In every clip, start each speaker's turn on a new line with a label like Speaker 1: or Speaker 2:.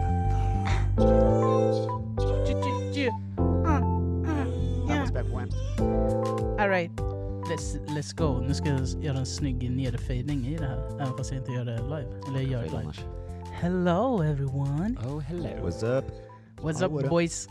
Speaker 1: Mm, Let's go. Nu ska jag göra en snygg nedfading i det här. Även fast jag inte gör det live. Eller jag gör det live. Hello everyone.
Speaker 2: Oh, hello.
Speaker 3: What's up?
Speaker 1: What's
Speaker 3: Hallå
Speaker 1: up
Speaker 3: då.
Speaker 1: boys?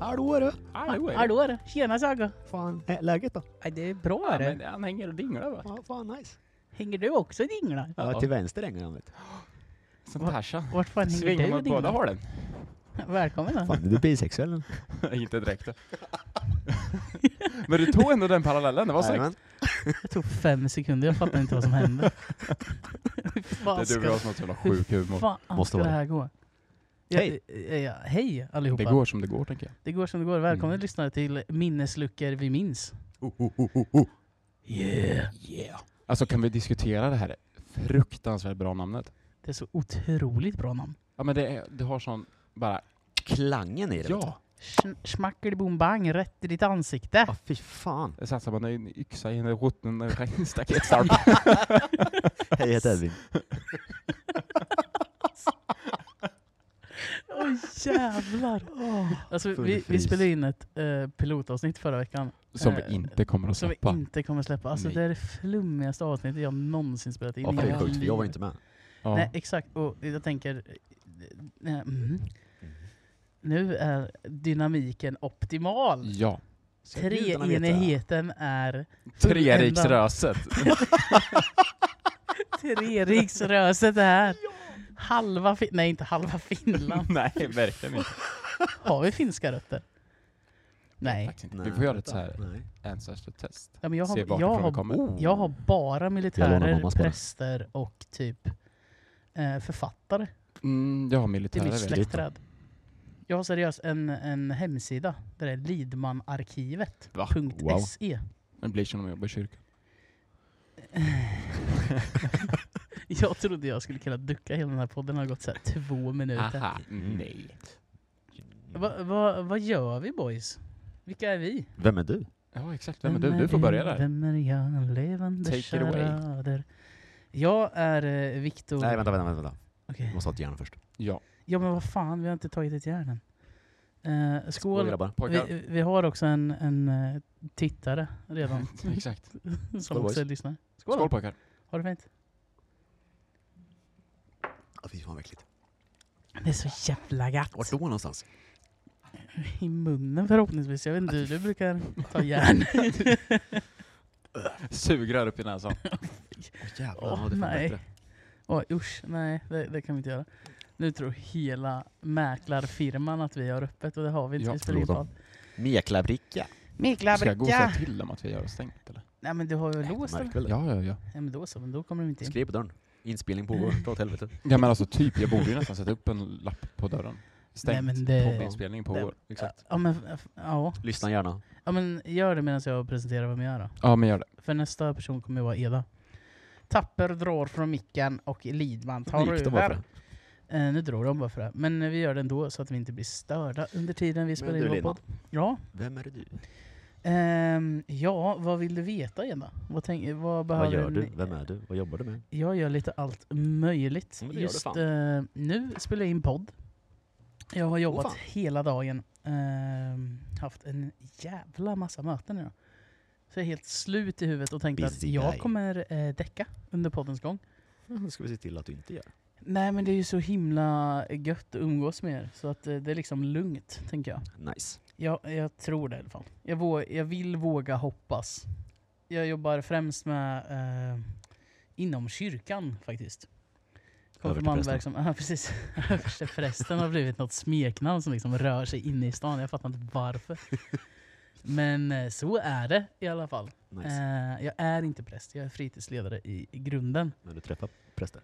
Speaker 3: Hallå du!
Speaker 1: Hallå där. Tjena Saga.
Speaker 3: Fan, Ä, läget då?
Speaker 1: Aj, Det är bra
Speaker 2: Ja,
Speaker 1: det.
Speaker 2: men han hänger och dinglar va?
Speaker 3: Ja, fan nice.
Speaker 1: Hänger du också i dinglar?
Speaker 3: Ja,
Speaker 2: Ja.
Speaker 3: till vänster hänger han vet du.
Speaker 2: Som Tarzan.
Speaker 1: Vart fan hänger
Speaker 2: Svingar
Speaker 1: du i
Speaker 2: mot båda
Speaker 1: dinglar?
Speaker 2: hålen.
Speaker 1: Välkommen då.
Speaker 3: Fan, är du bisexuell eller?
Speaker 2: Inte direkt. Men du tog ändå den parallellen, det var snyggt.
Speaker 3: Jajamän.
Speaker 1: Det tog fem sekunder, jag fattar inte vad som hände. Hur fan
Speaker 2: Det är
Speaker 1: ska-
Speaker 2: du vi har sån jävla sjuk humor.
Speaker 1: fan
Speaker 3: Måste
Speaker 1: ska det
Speaker 3: vara.
Speaker 1: här gå?
Speaker 3: Hej.
Speaker 1: Ja, ja, ja, hej allihopa.
Speaker 2: Det går som det går tänker jag.
Speaker 1: det går som det går. Välkommen
Speaker 2: Mm.
Speaker 1: lyssnare till Minnesluckor vi minns.
Speaker 3: Oh,
Speaker 1: Yeah.
Speaker 2: Yeah. Alltså kan vi diskutera det här fruktansvärt bra namnet?
Speaker 1: Det är så otroligt bra namn.
Speaker 2: Ja men det, är, det har sån bara,
Speaker 3: Klangen i det. vet du.
Speaker 2: ja!
Speaker 1: Schn- Schmackelboom-bang, rätt i ditt ansikte.
Speaker 3: Ja, fy fan.
Speaker 2: Det satsar man en yxa i en rutten regnstaket.
Speaker 3: Hej, jag heter Edvin.
Speaker 1: Åh jävlar! Alltså,
Speaker 3: full
Speaker 1: vi, vi
Speaker 3: fis.
Speaker 1: spelade in ett eh, pilotavsnitt förra veckan
Speaker 2: Som vi
Speaker 1: Eh,
Speaker 2: inte kommer att
Speaker 1: som vi
Speaker 2: släppa.
Speaker 1: inte kommer släppa. Alltså,
Speaker 2: Nej.
Speaker 1: det är det flummigaste avsnittet jag någonsin spelat in.
Speaker 3: Ja,
Speaker 1: i
Speaker 3: för det är
Speaker 1: hela
Speaker 3: sjukt, för jag var
Speaker 1: livet.
Speaker 3: inte med.
Speaker 2: Ja.
Speaker 1: Nej, exakt. Och jag tänker... eh, eh, Mm. Nu är dynamiken optimal.
Speaker 2: ja.
Speaker 3: Ska gudarna veta.
Speaker 1: Treenigheten är
Speaker 2: Treriksröset.
Speaker 1: treriksröset är halva fin- Nej, inte halva Finland.
Speaker 2: Nej, verkligen inte.
Speaker 1: Har vi finska rötter? Nej.
Speaker 2: Faktiskt inte. Vi får göra ett så här
Speaker 3: Nej.
Speaker 2: ancestor-test.
Speaker 1: Ja, men jag,
Speaker 2: Se
Speaker 1: har,
Speaker 2: vart
Speaker 1: jag,
Speaker 2: ifrån vi
Speaker 1: har, oh,
Speaker 2: kommer.
Speaker 3: Oh,
Speaker 1: jag har bara
Speaker 3: Jag lånar
Speaker 1: militärer,
Speaker 3: mammas bara.
Speaker 1: präster och typ eh, författare
Speaker 2: Mm, jag har
Speaker 1: till
Speaker 2: militärer.
Speaker 1: mitt
Speaker 2: vet du.
Speaker 1: släktträd. Jag har seriöst en, en hemsida där det är Lidmanarkivet.
Speaker 2: Va?
Speaker 1: punkt E.
Speaker 3: Wow.
Speaker 1: SE.
Speaker 2: Det blir som om jag jobbar i kyrkan.
Speaker 1: Jag trodde jag skulle kunna ducka hela den här podden, det har gått så här två minuter.
Speaker 2: Aha, Mm.
Speaker 1: Mm.
Speaker 2: nej.
Speaker 1: Va, va, vad gör vi boys? Vilka är vi?
Speaker 3: Vem är du?
Speaker 2: Ja, exakt. Vem är du? Du får börja där.
Speaker 1: Vem är jag? Levande
Speaker 2: Take it away.
Speaker 1: charader. Jag är eh, Viktor...
Speaker 3: Nej, vänta, vänta, vänta. vänta.
Speaker 1: Okej.
Speaker 3: Jag måste ha ett järn först.
Speaker 2: Ja,
Speaker 1: Ja men vad fan, vi har inte tagit ett järn än. Eh,
Speaker 3: Skål
Speaker 1: skål.
Speaker 3: grabbar.
Speaker 2: pojkar.
Speaker 1: Vi, vi har också en, en eh, tittare redan
Speaker 2: Exakt.
Speaker 1: som
Speaker 3: Skål,
Speaker 1: också
Speaker 3: boys.
Speaker 1: lyssnar. Skål!
Speaker 2: Skål
Speaker 1: Skål.
Speaker 2: pojkar.
Speaker 1: Har det fint?
Speaker 3: Ja, fy fan vad äckligt.
Speaker 1: Det är så jävla
Speaker 3: Vart
Speaker 1: gott.
Speaker 3: då någonstans?
Speaker 1: I munnen förhoppningsvis. Jag vet inte hur du brukar ta järn.
Speaker 2: Sugrör upp i näsan.
Speaker 3: Åh jävlar,
Speaker 1: Åh,
Speaker 3: ja, det är fan
Speaker 1: nej.
Speaker 3: bättre.
Speaker 1: Oj usch, nej det, det kan vi inte göra. Nu tror hela mäklarfirman att vi har öppet och det har vi inte.
Speaker 2: Ja,
Speaker 1: vi spelar in på
Speaker 3: förlåt
Speaker 1: allt.
Speaker 3: Meklabricka.
Speaker 2: Ska jag gå och säga
Speaker 1: Mäklarbricka!
Speaker 2: till dem att vi gör stängt eller?
Speaker 1: Nej men du har ju låst den.
Speaker 3: Märk väl det?
Speaker 2: Ja, ja, ja.
Speaker 1: Ja men då så, men då kommer de inte in.
Speaker 3: Skriv på dörren. Inspelning pågår. Dra åt helvete.
Speaker 2: Ja men alltså typ, jag borde ju nästan sätta upp en lapp på dörren. Stängt.
Speaker 1: men det-
Speaker 2: Poddinspelning pågår. Exakt.
Speaker 1: Ja men, f- ja.
Speaker 3: Lyssna gärna.
Speaker 1: ja men gör det medan jag presenterar vem jag är då.
Speaker 2: Ja men gör det.
Speaker 1: För nästa person kommer ju vara Eda. Tapper drar från micken och Lidman tar
Speaker 3: Gick de bara för
Speaker 1: över. Eh, nu drog de bara för det. här. Men eh, vi gör det ändå så att vi inte blir störda under tiden vi spelar
Speaker 3: du,
Speaker 1: in vår
Speaker 3: Lina.
Speaker 1: podd. Ja.
Speaker 3: Vem är du?
Speaker 1: Ehm, ja, vad vill du veta Eda? Vad, tänk, vad behöver
Speaker 3: Vad gör
Speaker 1: ni-
Speaker 3: du? Vem är du? Vad jobbar du med?
Speaker 1: Jag gör lite allt möjligt.
Speaker 3: Ja, men det gör du
Speaker 1: Just
Speaker 3: fan.
Speaker 1: eh, nu spelar jag in podd. Jag har jobbat
Speaker 3: fan.
Speaker 1: hela dagen. Ehm, haft en jävla massa möten idag. Så jag är helt slut i huvudet och tänkte att
Speaker 3: Busy
Speaker 1: jag
Speaker 3: guy.
Speaker 1: kommer eh, däcka under poddens gång.
Speaker 3: Det ska vi se till att du inte gör.
Speaker 1: Nej men det är ju så himla gött att umgås med er. Så att eh, det är liksom lugnt, tänker jag.
Speaker 3: Nice.
Speaker 1: Jag, jag tror det i alla fall. Jag, vå, jag vill våga hoppas. Jag jobbar främst med eh, inom kyrkan faktiskt.
Speaker 3: Översteprästen.
Speaker 1: Konfirmandverksam- Ja precis. Översteprästen har blivit något smeknamn som liksom rör sig inne i stan. Jag fattar inte varför. Men eh, så är det i alla fall.
Speaker 3: nice.
Speaker 1: Eh, jag är inte präst, jag är fritidsledare i, i grunden.
Speaker 3: När du träffar präster.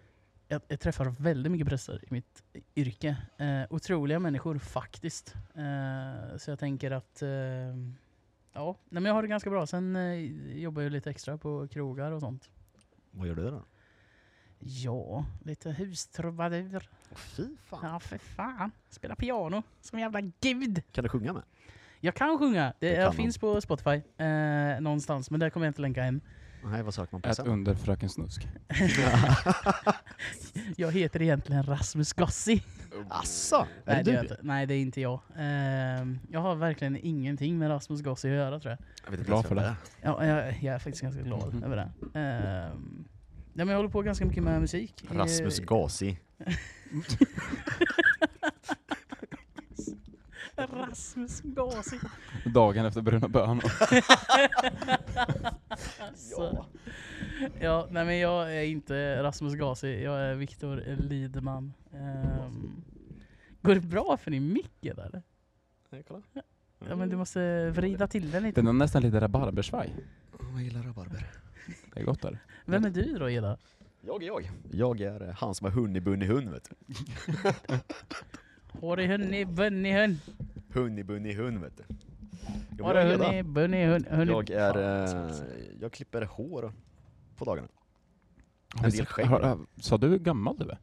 Speaker 1: Jag, jag träffar väldigt mycket präster i mitt yrke. Eh, otroliga människor faktiskt. Eh, så jag tänker att eh, ja, nej, men jag har det ganska bra. Sen eh, jobbar jag lite extra på krogar och sånt.
Speaker 3: Vad gör du då?
Speaker 1: Ja, lite hustrubadur.
Speaker 3: Åh, Fy fan.
Speaker 1: Ja, för fan. Spelar piano som jävla gud.
Speaker 3: Kan du sjunga med?
Speaker 1: Jag kan sjunga. Det,
Speaker 3: Det kan
Speaker 1: jag
Speaker 3: man.
Speaker 1: finns på Spotify eh, någonstans, men där kommer jag inte länka än.
Speaker 3: Nej, vad söker man på
Speaker 2: Ät
Speaker 3: sen?
Speaker 2: under Fröken Snusk.
Speaker 1: Jag heter egentligen Rasmus Gossi.
Speaker 3: Asså, är
Speaker 1: Nej, det är
Speaker 3: det du?
Speaker 1: jag inte. Nej, det är inte jag. Ehm, jag har verkligen ingenting med Rasmus Gossi att göra tror jag.
Speaker 3: Jag vet
Speaker 2: Glad
Speaker 3: ens
Speaker 2: för
Speaker 3: vem
Speaker 2: det.
Speaker 3: är.
Speaker 1: Ja, jag, jag är faktiskt ganska glad
Speaker 3: Mm.
Speaker 2: Mhm.
Speaker 1: över det. Ehm, ja, men jag håller på ganska mycket med musik.
Speaker 3: Rasmus
Speaker 1: Eh,
Speaker 3: Gasi.
Speaker 1: Eh, Rasmus Gasi.
Speaker 2: Dagen efter bruna bönor.
Speaker 1: ja. ja, nej men jag är inte Rasmus Gasi, jag är Viktor Lidman. Ehm, går det bra för din mick eller? Ja men du måste vrida till den lite.
Speaker 2: Den har nästan lite rabarbersvaj.
Speaker 3: Jag gillar rabarber.
Speaker 2: Det är gott där.
Speaker 1: Vem är du då Eda?
Speaker 3: Jag är jag. Jag är eh, han som har hunnibunni hund vet du.
Speaker 1: Har du hunni bunni hun?
Speaker 3: Hunnibunni hund vet du. Jo,
Speaker 1: Har
Speaker 3: men
Speaker 1: du
Speaker 3: jag är Eda.
Speaker 1: hunni bunni hun? hunni-
Speaker 3: Jag är,
Speaker 1: Fan,
Speaker 3: eh, jag klipper hår på dagarna.
Speaker 2: Har
Speaker 3: En
Speaker 2: vi
Speaker 3: del
Speaker 2: sett-
Speaker 3: skägg.
Speaker 2: har- har- Sa du hur gammal du är?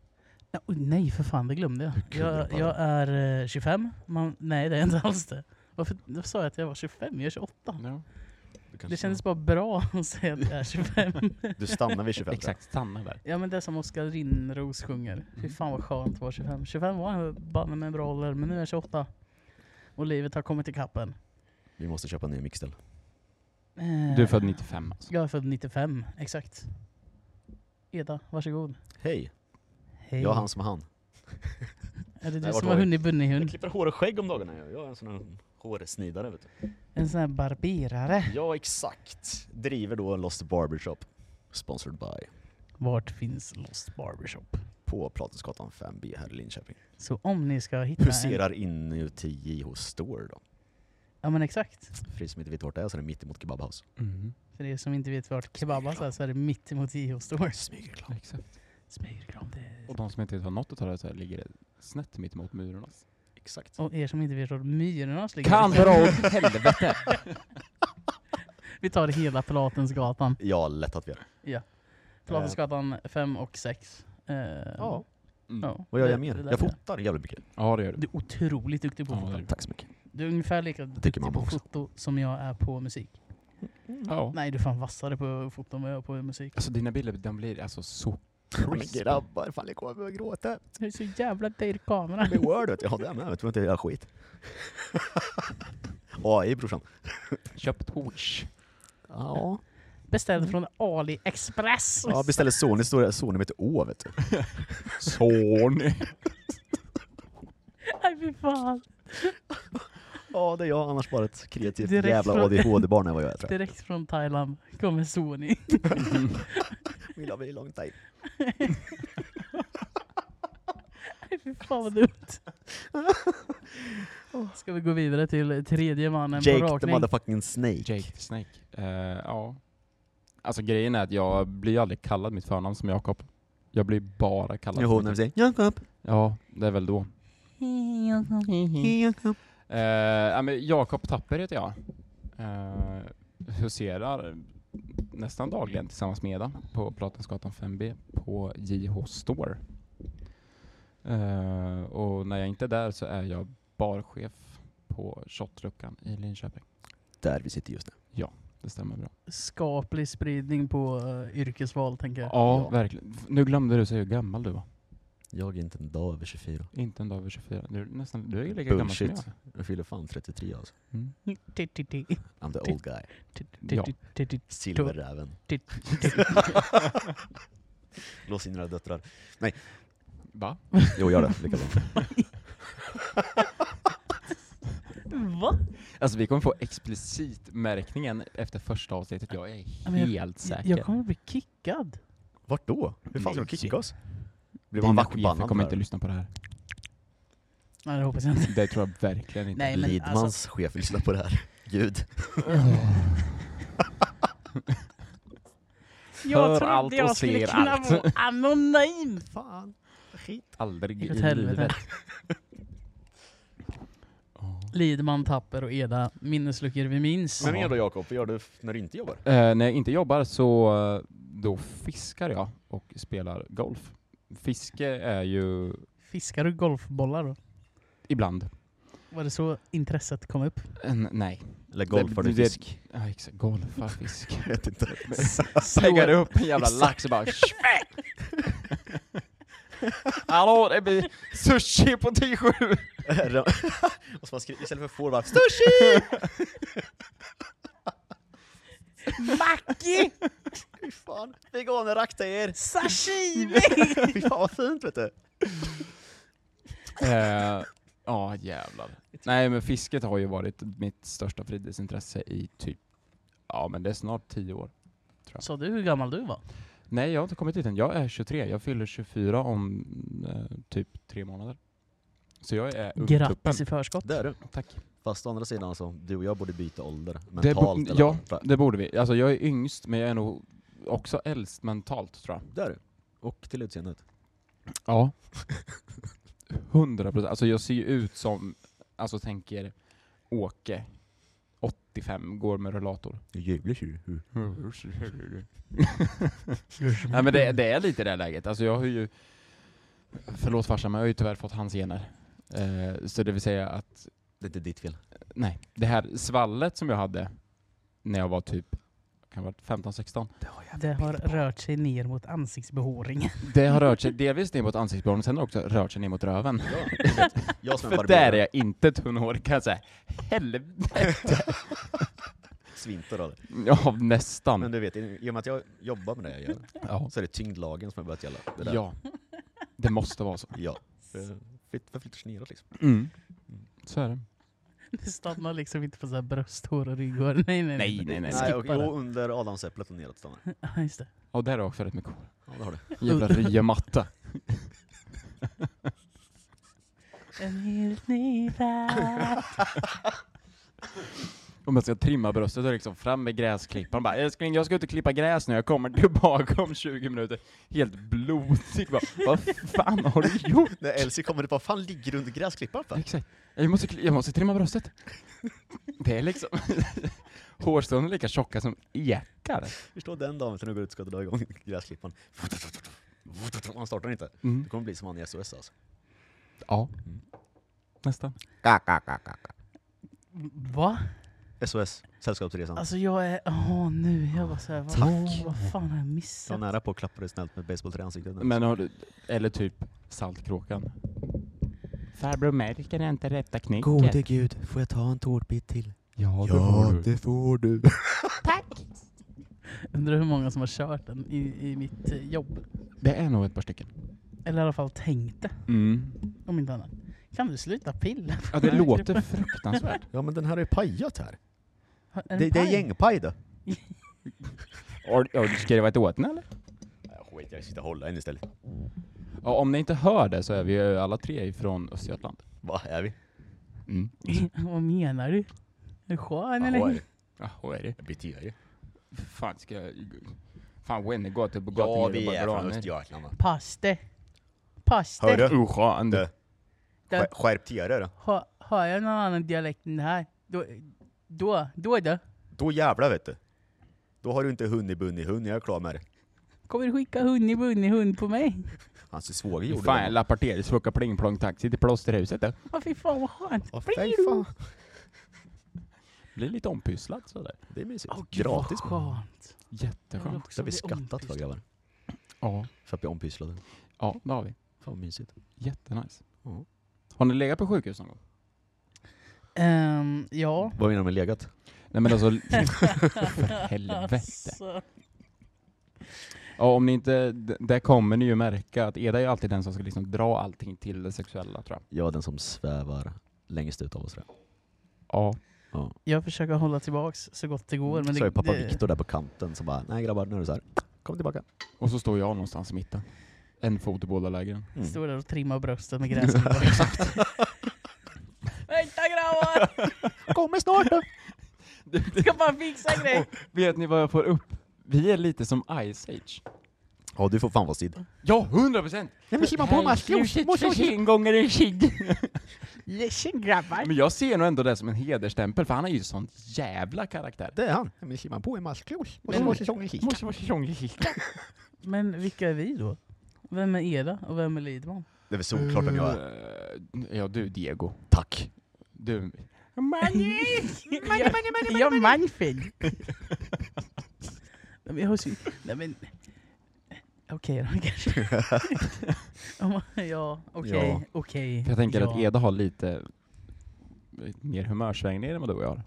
Speaker 1: Ja, oj, nej för fan, det glömde jag.
Speaker 3: kunde
Speaker 1: Jag,
Speaker 3: bara-
Speaker 1: jag är eh, 25. Man, nej det är inte alls det. Varför då sa jag att jag var 25? Jag är 28.
Speaker 3: Mm,
Speaker 2: Ja.
Speaker 3: Du,
Speaker 1: Det
Speaker 3: kanske-
Speaker 1: kändes bara bra att säga att jag är 25.
Speaker 3: du stannar vid 25
Speaker 2: Exakt, stanna där.
Speaker 1: Ja men det är som Oskar Rinnros sjunger. Fy
Speaker 3: Mm.
Speaker 1: fan vad skönt att vara 25. 25 var en banne med en bra ålder, men nu är jag 28. Och livet har kommit ikapp en.
Speaker 3: Vi måste köpa en ny mixtel.
Speaker 1: Eh,
Speaker 2: Du är född 95 alltså.
Speaker 1: Jag är född 95, exakt. Eda, varsågod.
Speaker 3: Hej,
Speaker 1: Hej.
Speaker 3: jag är han som är han.
Speaker 1: Är det du
Speaker 3: Nej, vart
Speaker 1: som
Speaker 3: var
Speaker 1: har
Speaker 3: vi?
Speaker 1: hunnit bunni
Speaker 3: Jag
Speaker 1: hund?
Speaker 3: klipper hår och skägg om dagarna. Jag Jag är en sån här hårsnidare vet du.
Speaker 1: En sån här barberare.
Speaker 3: Ja, exakt. Driver då Lost Barbershop. Sponsored by.
Speaker 1: Vart finns Lost Barbershop?
Speaker 3: På Platensgatan 5B här i Linköping.
Speaker 1: Så om ni ska hitta en...
Speaker 3: Huserar inuti JH Store då.
Speaker 1: Ja men exakt.
Speaker 3: För er som inte vet vart det är så är det mittemot Kebab House.
Speaker 2: Mm.
Speaker 1: För er som inte vet vart Kebabas är så är det mitt emot JH Store.
Speaker 3: Smygreklam.
Speaker 2: Exakt.
Speaker 1: Smygreklam. det-
Speaker 2: Och de som inte har något att ta det så här ligger det snett mitt emot muren. Alltså.
Speaker 3: Exakt.
Speaker 1: Och er som inte vet vart Myrornas ligger.
Speaker 2: Kan dra åt helvete!
Speaker 1: Vi tar hela Pilatensgatan.
Speaker 3: Ja, lätt att vi gör.
Speaker 1: Pilatensgatan 5 och 6. Eh,
Speaker 3: Eh. Ja.
Speaker 2: Mm.
Speaker 1: ja.
Speaker 3: Vad gör
Speaker 1: Det-
Speaker 3: jag mer?
Speaker 1: det där
Speaker 3: Jag
Speaker 1: är-
Speaker 3: fotar jävligt mycket.
Speaker 2: Ja, det gör
Speaker 1: Du
Speaker 2: du.
Speaker 1: är otroligt duktig på
Speaker 2: Ja,
Speaker 1: foto.
Speaker 2: det är
Speaker 3: Tack så mycket.
Speaker 1: Du är ungefär lika duktig
Speaker 3: mamma
Speaker 1: på
Speaker 3: också.
Speaker 1: foto som jag är på musik.
Speaker 2: Ja.
Speaker 1: Nej, du är fan vassare på foto än vad jag är på musik.
Speaker 2: Alltså dina bilder, de blir alltså så
Speaker 3: Men
Speaker 2: crisp.
Speaker 3: grabbar, fan jag kommer börja gråta.
Speaker 1: Det är så jävla dyr kamera.
Speaker 3: Med Word vet jag. Ja, det är med. Jag tror inte jag gör skit. AI brorsan.
Speaker 2: Köpt hotch.
Speaker 3: Ja.
Speaker 1: Beställd från AliExpress.
Speaker 3: Ja, beställer Sony, står det Sony med ett Å vet du.
Speaker 2: Sony.
Speaker 1: Nej, fy fan.
Speaker 3: Ja, det är jag. Annars bara ett kreativt
Speaker 1: Direkt från-
Speaker 3: jävla ADHD-barn är vad jag är tror jag.
Speaker 1: Direkt från Thailand kommer Sony.
Speaker 3: Vill ha mig lång time.
Speaker 1: Nej, fy fan vad dumt. Ska vi gå vidare till tredje mannen på
Speaker 3: Jake the
Speaker 1: rakning?
Speaker 3: motherfucking Snake.
Speaker 2: Jake the Snake. Eh, ja. Alltså grejen är att jag blir ju aldrig kallad mitt förnamn som Jakob. Jag blir bara kallad
Speaker 3: Jo,
Speaker 2: mitt-
Speaker 3: när vi säger Jakob,
Speaker 2: Ja, det är väl då.
Speaker 3: Jakob.
Speaker 2: Eh, ja, men Jakob Tapper heter jag. Eh, huserar nästan dagligen tillsammans med Eda på Platensgatan 5B på JH Store. Eh, och när jag inte är där så är jag barchef på shotluckan i Linköping.
Speaker 3: Där vi sitter just nu.
Speaker 2: Det stämmer bra.
Speaker 1: Skaplig spridning på eh, yrkesval, tänker jag.
Speaker 2: Ja, verkligen. F- Nu glömde du säga hur gammal du var.
Speaker 3: Jag är inte en dag över 24.
Speaker 2: Inte en dag över 24. Du är, nästan, du är lika gammal som
Speaker 3: Bullshit.
Speaker 2: jag.
Speaker 3: Jag fyller fan 33 alltså.
Speaker 2: Mm.
Speaker 1: Tittiti.
Speaker 3: I'm the old guy.
Speaker 2: Ja.
Speaker 1: Typ Tittiti.
Speaker 3: Silverräven. Lås in era döttrar.
Speaker 2: Va?
Speaker 3: Jo, gör det. Lycka till.
Speaker 1: Va?
Speaker 2: Alltså vi kommer få explicit märkningen efter första avsnittet, jag är
Speaker 1: Ja, men jag-
Speaker 2: helt säker.
Speaker 1: Jag kommer bli kickad.
Speaker 3: Vart då? Hur fan ska de
Speaker 2: Nej.
Speaker 3: kicka oss? Blir man
Speaker 2: Dina chefer
Speaker 3: vaktbannad?
Speaker 2: kommer
Speaker 3: för
Speaker 2: inte
Speaker 3: det?
Speaker 2: lyssna på det här.
Speaker 1: Nej, det hoppas jag inte.
Speaker 2: Det tror jag verkligen inte.
Speaker 1: Nej, men
Speaker 3: Lidmans
Speaker 1: alltså-
Speaker 3: chef lyssnar på det här. Gud.
Speaker 2: Hör allt och ser allt.
Speaker 1: vara anonym.
Speaker 3: Fan. Skit.
Speaker 2: Aldrig
Speaker 1: Åt
Speaker 2: i
Speaker 1: helvete.
Speaker 2: livet. Ja.
Speaker 1: Lidman, Tapper och Eda, minnesluckor vi minns.
Speaker 3: Men mer då Jakob, vad gör du f- när du inte jobbar?
Speaker 2: Eh, när jag inte jobbar så eh, då fiskar jag och spelar golf. Fiske är ju
Speaker 1: Fiskar du golfbollar då?
Speaker 2: ibland.
Speaker 1: Var det så intresset kom upp?
Speaker 2: En, nej.
Speaker 3: Eller golf har du
Speaker 2: det-
Speaker 3: fisk.
Speaker 2: Ja, exakt. Golfarfisk.
Speaker 3: Jag vet inte.
Speaker 2: Slänger upp en jävla
Speaker 3: Exakt.
Speaker 2: lax och bara smäck! Hallå, det blir sushi på T7!
Speaker 3: Och så man skri- istället för får bara Stush!
Speaker 1: Maki!
Speaker 3: Fy fan, veganer akta er!
Speaker 1: Sashimi!
Speaker 3: Fy fan vad fint vet du!
Speaker 2: Eh, Ja, jävlar. Nej, men fisket har ju varit mitt största fritidsintresse i typ, ja men det är snart 10 år.
Speaker 1: Sa du hur gammal du var?
Speaker 2: Nej, jag har inte kommit dit än. Jag är 23. Jag fyller 24 om eh, typ tre månader. Så jag är ungtuppen.
Speaker 1: Grattis i förskott.
Speaker 3: Det är du.
Speaker 2: Tack.
Speaker 3: Fast å andra sidan så, du och jag borde byta ålder.
Speaker 2: Det bo-
Speaker 3: Mentalt eller
Speaker 2: ja,
Speaker 3: andra.
Speaker 2: det borde vi. Alltså jag är yngst, men jag är nog också äldst mentalt tror jag.
Speaker 3: Det är du. Och till utseendet.
Speaker 2: Ja. 100 procent. Alltså jag ser ju ut som, alltså tänker Åke, 85, går med rullator.
Speaker 3: Jävla tjur.
Speaker 2: Nej men det, det är lite det läget. Alltså jag har ju, förlåt farsan, men jag har ju tyvärr fått hans gener. Eh, så det vill säga att,
Speaker 3: Det är inte ditt fel.
Speaker 2: nej, det här svallet som jag hade när jag var typ, kan ha varit 15-16,
Speaker 1: Det har rört sig ner mot ansiktsbehåringen.
Speaker 2: det har rört sig delvis ner mot ansiktsbehåringen, sen har det också rört sig ner mot röven.
Speaker 3: Ja, jag vet. jag som är
Speaker 2: För
Speaker 3: barberare.
Speaker 2: där är jag inte tunnhårig kan jag säga. Helvete!
Speaker 3: Svinter av det.
Speaker 2: Ja, nästan.
Speaker 3: Men du vet, i och med att jag jobbar med det jag gör,
Speaker 2: ja.
Speaker 3: så är det tyngdlagen som har börjat gälla. Det där.
Speaker 2: ja. Det måste vara så.
Speaker 3: ja. För flyttar sig neråt liksom.
Speaker 2: Mm. Så är det.
Speaker 1: Det stannar liksom inte på så här brösthår och rygghår. Nej, nej,
Speaker 2: Nej, nej, nej.
Speaker 3: Nej,
Speaker 1: Skippa
Speaker 3: och,
Speaker 1: det.
Speaker 3: jo, under adamsäpplet och neråt stannar det.
Speaker 1: Ja, just det.
Speaker 2: Och där är också rätt mycket hår.
Speaker 3: Ja, det har du.
Speaker 2: Jävla ryematta.
Speaker 1: En helt ny värld.
Speaker 2: Om man ska trimma bröstet och liksom fram med gräsklipparen bara älskling jag ska ut och klippa gräs nu, jag kommer tillbaka om 20 minuter. Helt blodig bara, vad fan har du gjort?
Speaker 3: När Elsie kommer upp, vad fan ligger du under gräsklipparen för?
Speaker 2: Exakt. Jag måste, kli- jag måste trimma bröstet. Det är liksom, hårstrån är lika tjocka som ekar.
Speaker 3: Förstå den dagen när du går ut och ska dra igång gräsklipparen. Han startar inte.
Speaker 2: Mm.
Speaker 3: Det kommer bli som han i SOS alltså.
Speaker 2: Ja, nästan.
Speaker 1: Va?
Speaker 3: SOS, Sällskapsresan.
Speaker 1: Alltså jag är... Åh nu, jag var såhär... Vad,
Speaker 3: Tack.
Speaker 1: vad fan har jag
Speaker 3: jag var
Speaker 1: missat?
Speaker 3: nära på att klappa dig snällt med ett basebollträ i ansiktet.
Speaker 2: Men har du, eller typ Saltkråkan. Farbror märker inte rätta knicket.
Speaker 3: gud, får jag ta en tårtbit till?
Speaker 2: Ja,
Speaker 3: får du.
Speaker 1: Undrar hur många som har kört den i, i mitt eh, jobb.
Speaker 2: Det är nog ett par stycken.
Speaker 1: Eller i alla fall tänkte,
Speaker 2: Mm.
Speaker 1: om inte annat. Kan du sluta pilla? på den
Speaker 2: Ja, det
Speaker 1: här
Speaker 2: låter
Speaker 1: gruppen?
Speaker 2: fruktansvärt.
Speaker 3: Ja men den här är pajat här.
Speaker 1: Har- är
Speaker 3: Det, det är
Speaker 1: paj?
Speaker 3: gängpaj då.
Speaker 2: Har har du skrivit åt den eller?
Speaker 3: Jag skiter jag sitter och håller henne istället.
Speaker 2: Ja, om ni inte hör det så är vi ju alla tre ifrån Östergötland.
Speaker 3: Vad är vi?
Speaker 2: Mm.
Speaker 1: Vad menar du? Är du skön
Speaker 3: Vad är
Speaker 1: eller?
Speaker 3: det?
Speaker 2: Ja, vad är det?
Speaker 3: Jag beter jag ju.
Speaker 2: Fan, ska jag... Fan, Wenny går till på gatan
Speaker 3: Ja, vi är från Östergötland. va?
Speaker 1: Paste. Paste.
Speaker 3: Hör du?
Speaker 2: Oskön.
Speaker 3: Det-
Speaker 1: Där-
Speaker 3: Skär- Skärp dig då.
Speaker 1: Hör, hör jag någon annan dialekt än det här? Då, då, då, då
Speaker 3: Då jävlar vet du. Då har du inte hund i bunny hund, jag är klar med det.
Speaker 1: kommer du skicka hund i bunny hund på mig.
Speaker 3: Hans svåger gjorde
Speaker 2: Fan,
Speaker 3: det.
Speaker 2: jag lappar till. Svocka pling plong taxi till plåsterhuset. Då.
Speaker 1: Åh fy fan vad skönt.
Speaker 3: Åh,
Speaker 1: Blir
Speaker 3: fy
Speaker 1: du?
Speaker 3: fan.
Speaker 2: Blir lite ompysslad sådär.
Speaker 3: Det är mysigt.
Speaker 1: Åh, gud, vad
Speaker 3: Gratis.
Speaker 1: skönt. Jag vill
Speaker 2: Jätteskönt.
Speaker 1: också
Speaker 3: Det har vi
Speaker 1: bli
Speaker 3: skattat för
Speaker 1: ompysslad.
Speaker 3: grabbar.
Speaker 2: Ja.
Speaker 3: För att bli ompysslade. Fan
Speaker 2: Ja, det har vi.
Speaker 3: vad mysigt.
Speaker 2: Jättenice.
Speaker 3: Ja.
Speaker 2: Har ni legat på sjukhus någon gång?
Speaker 1: Ehm, ja.
Speaker 3: Vad menar du med legat?
Speaker 2: Nej men alltså, för helvete.
Speaker 1: Alltså,
Speaker 2: Ja, om ni inte, d- där kommer ni ju märka att Eda är ju alltid den som ska liksom dra allting till det sexuella tror jag.
Speaker 3: Jag är den som svävar längst ut av oss. tror jag.
Speaker 2: Ja.
Speaker 1: jag försöker hålla tillbaks så gott det går. Men
Speaker 3: Mm. Så är
Speaker 1: det,
Speaker 3: pappa
Speaker 1: det,
Speaker 3: Viktor där på kanten som bara, nej grabbar nu är det så här. Kom tillbaka.
Speaker 2: Och så står jag någonstans i mitten. En fot i båda lägren.
Speaker 3: Mm.
Speaker 1: Står där och trimmar bröstet med gräsklippare. Vänta grabbar!
Speaker 3: Kommer snart då!
Speaker 1: Ska bara fixa en grej!
Speaker 2: Vet ni vad jag får upp? Vi är lite som Ice Age.
Speaker 3: Ja du får fan vara stid.
Speaker 2: Ja, hundra procent!
Speaker 3: Nej men slimma på
Speaker 2: gånger en kig.
Speaker 1: Ledsen grabbar!
Speaker 2: Men jag ser nog ändå det som en hederstämpel, för han är ju sån jävla karaktär.
Speaker 3: Det är han. Nej men slimma på en masklos.
Speaker 1: Men-
Speaker 2: Måste vara tjongekick.
Speaker 1: Men vilka är vi då? Vem är Eda och vem är Lidman?
Speaker 3: Det är väl solklart vem jag är.
Speaker 2: Eh, Ja du Diego.
Speaker 3: Mm. Tack.
Speaker 2: Du. Money!
Speaker 1: Jag- Jag är Manfred. Nej men jag har så... Nej men... Okej då kanske. Om man- ja, okej,
Speaker 3: Ja.
Speaker 1: okej.
Speaker 2: Jag tänker
Speaker 1: ja.
Speaker 2: att Eda har lite lite mer humörsvängningar än vad du och jag har.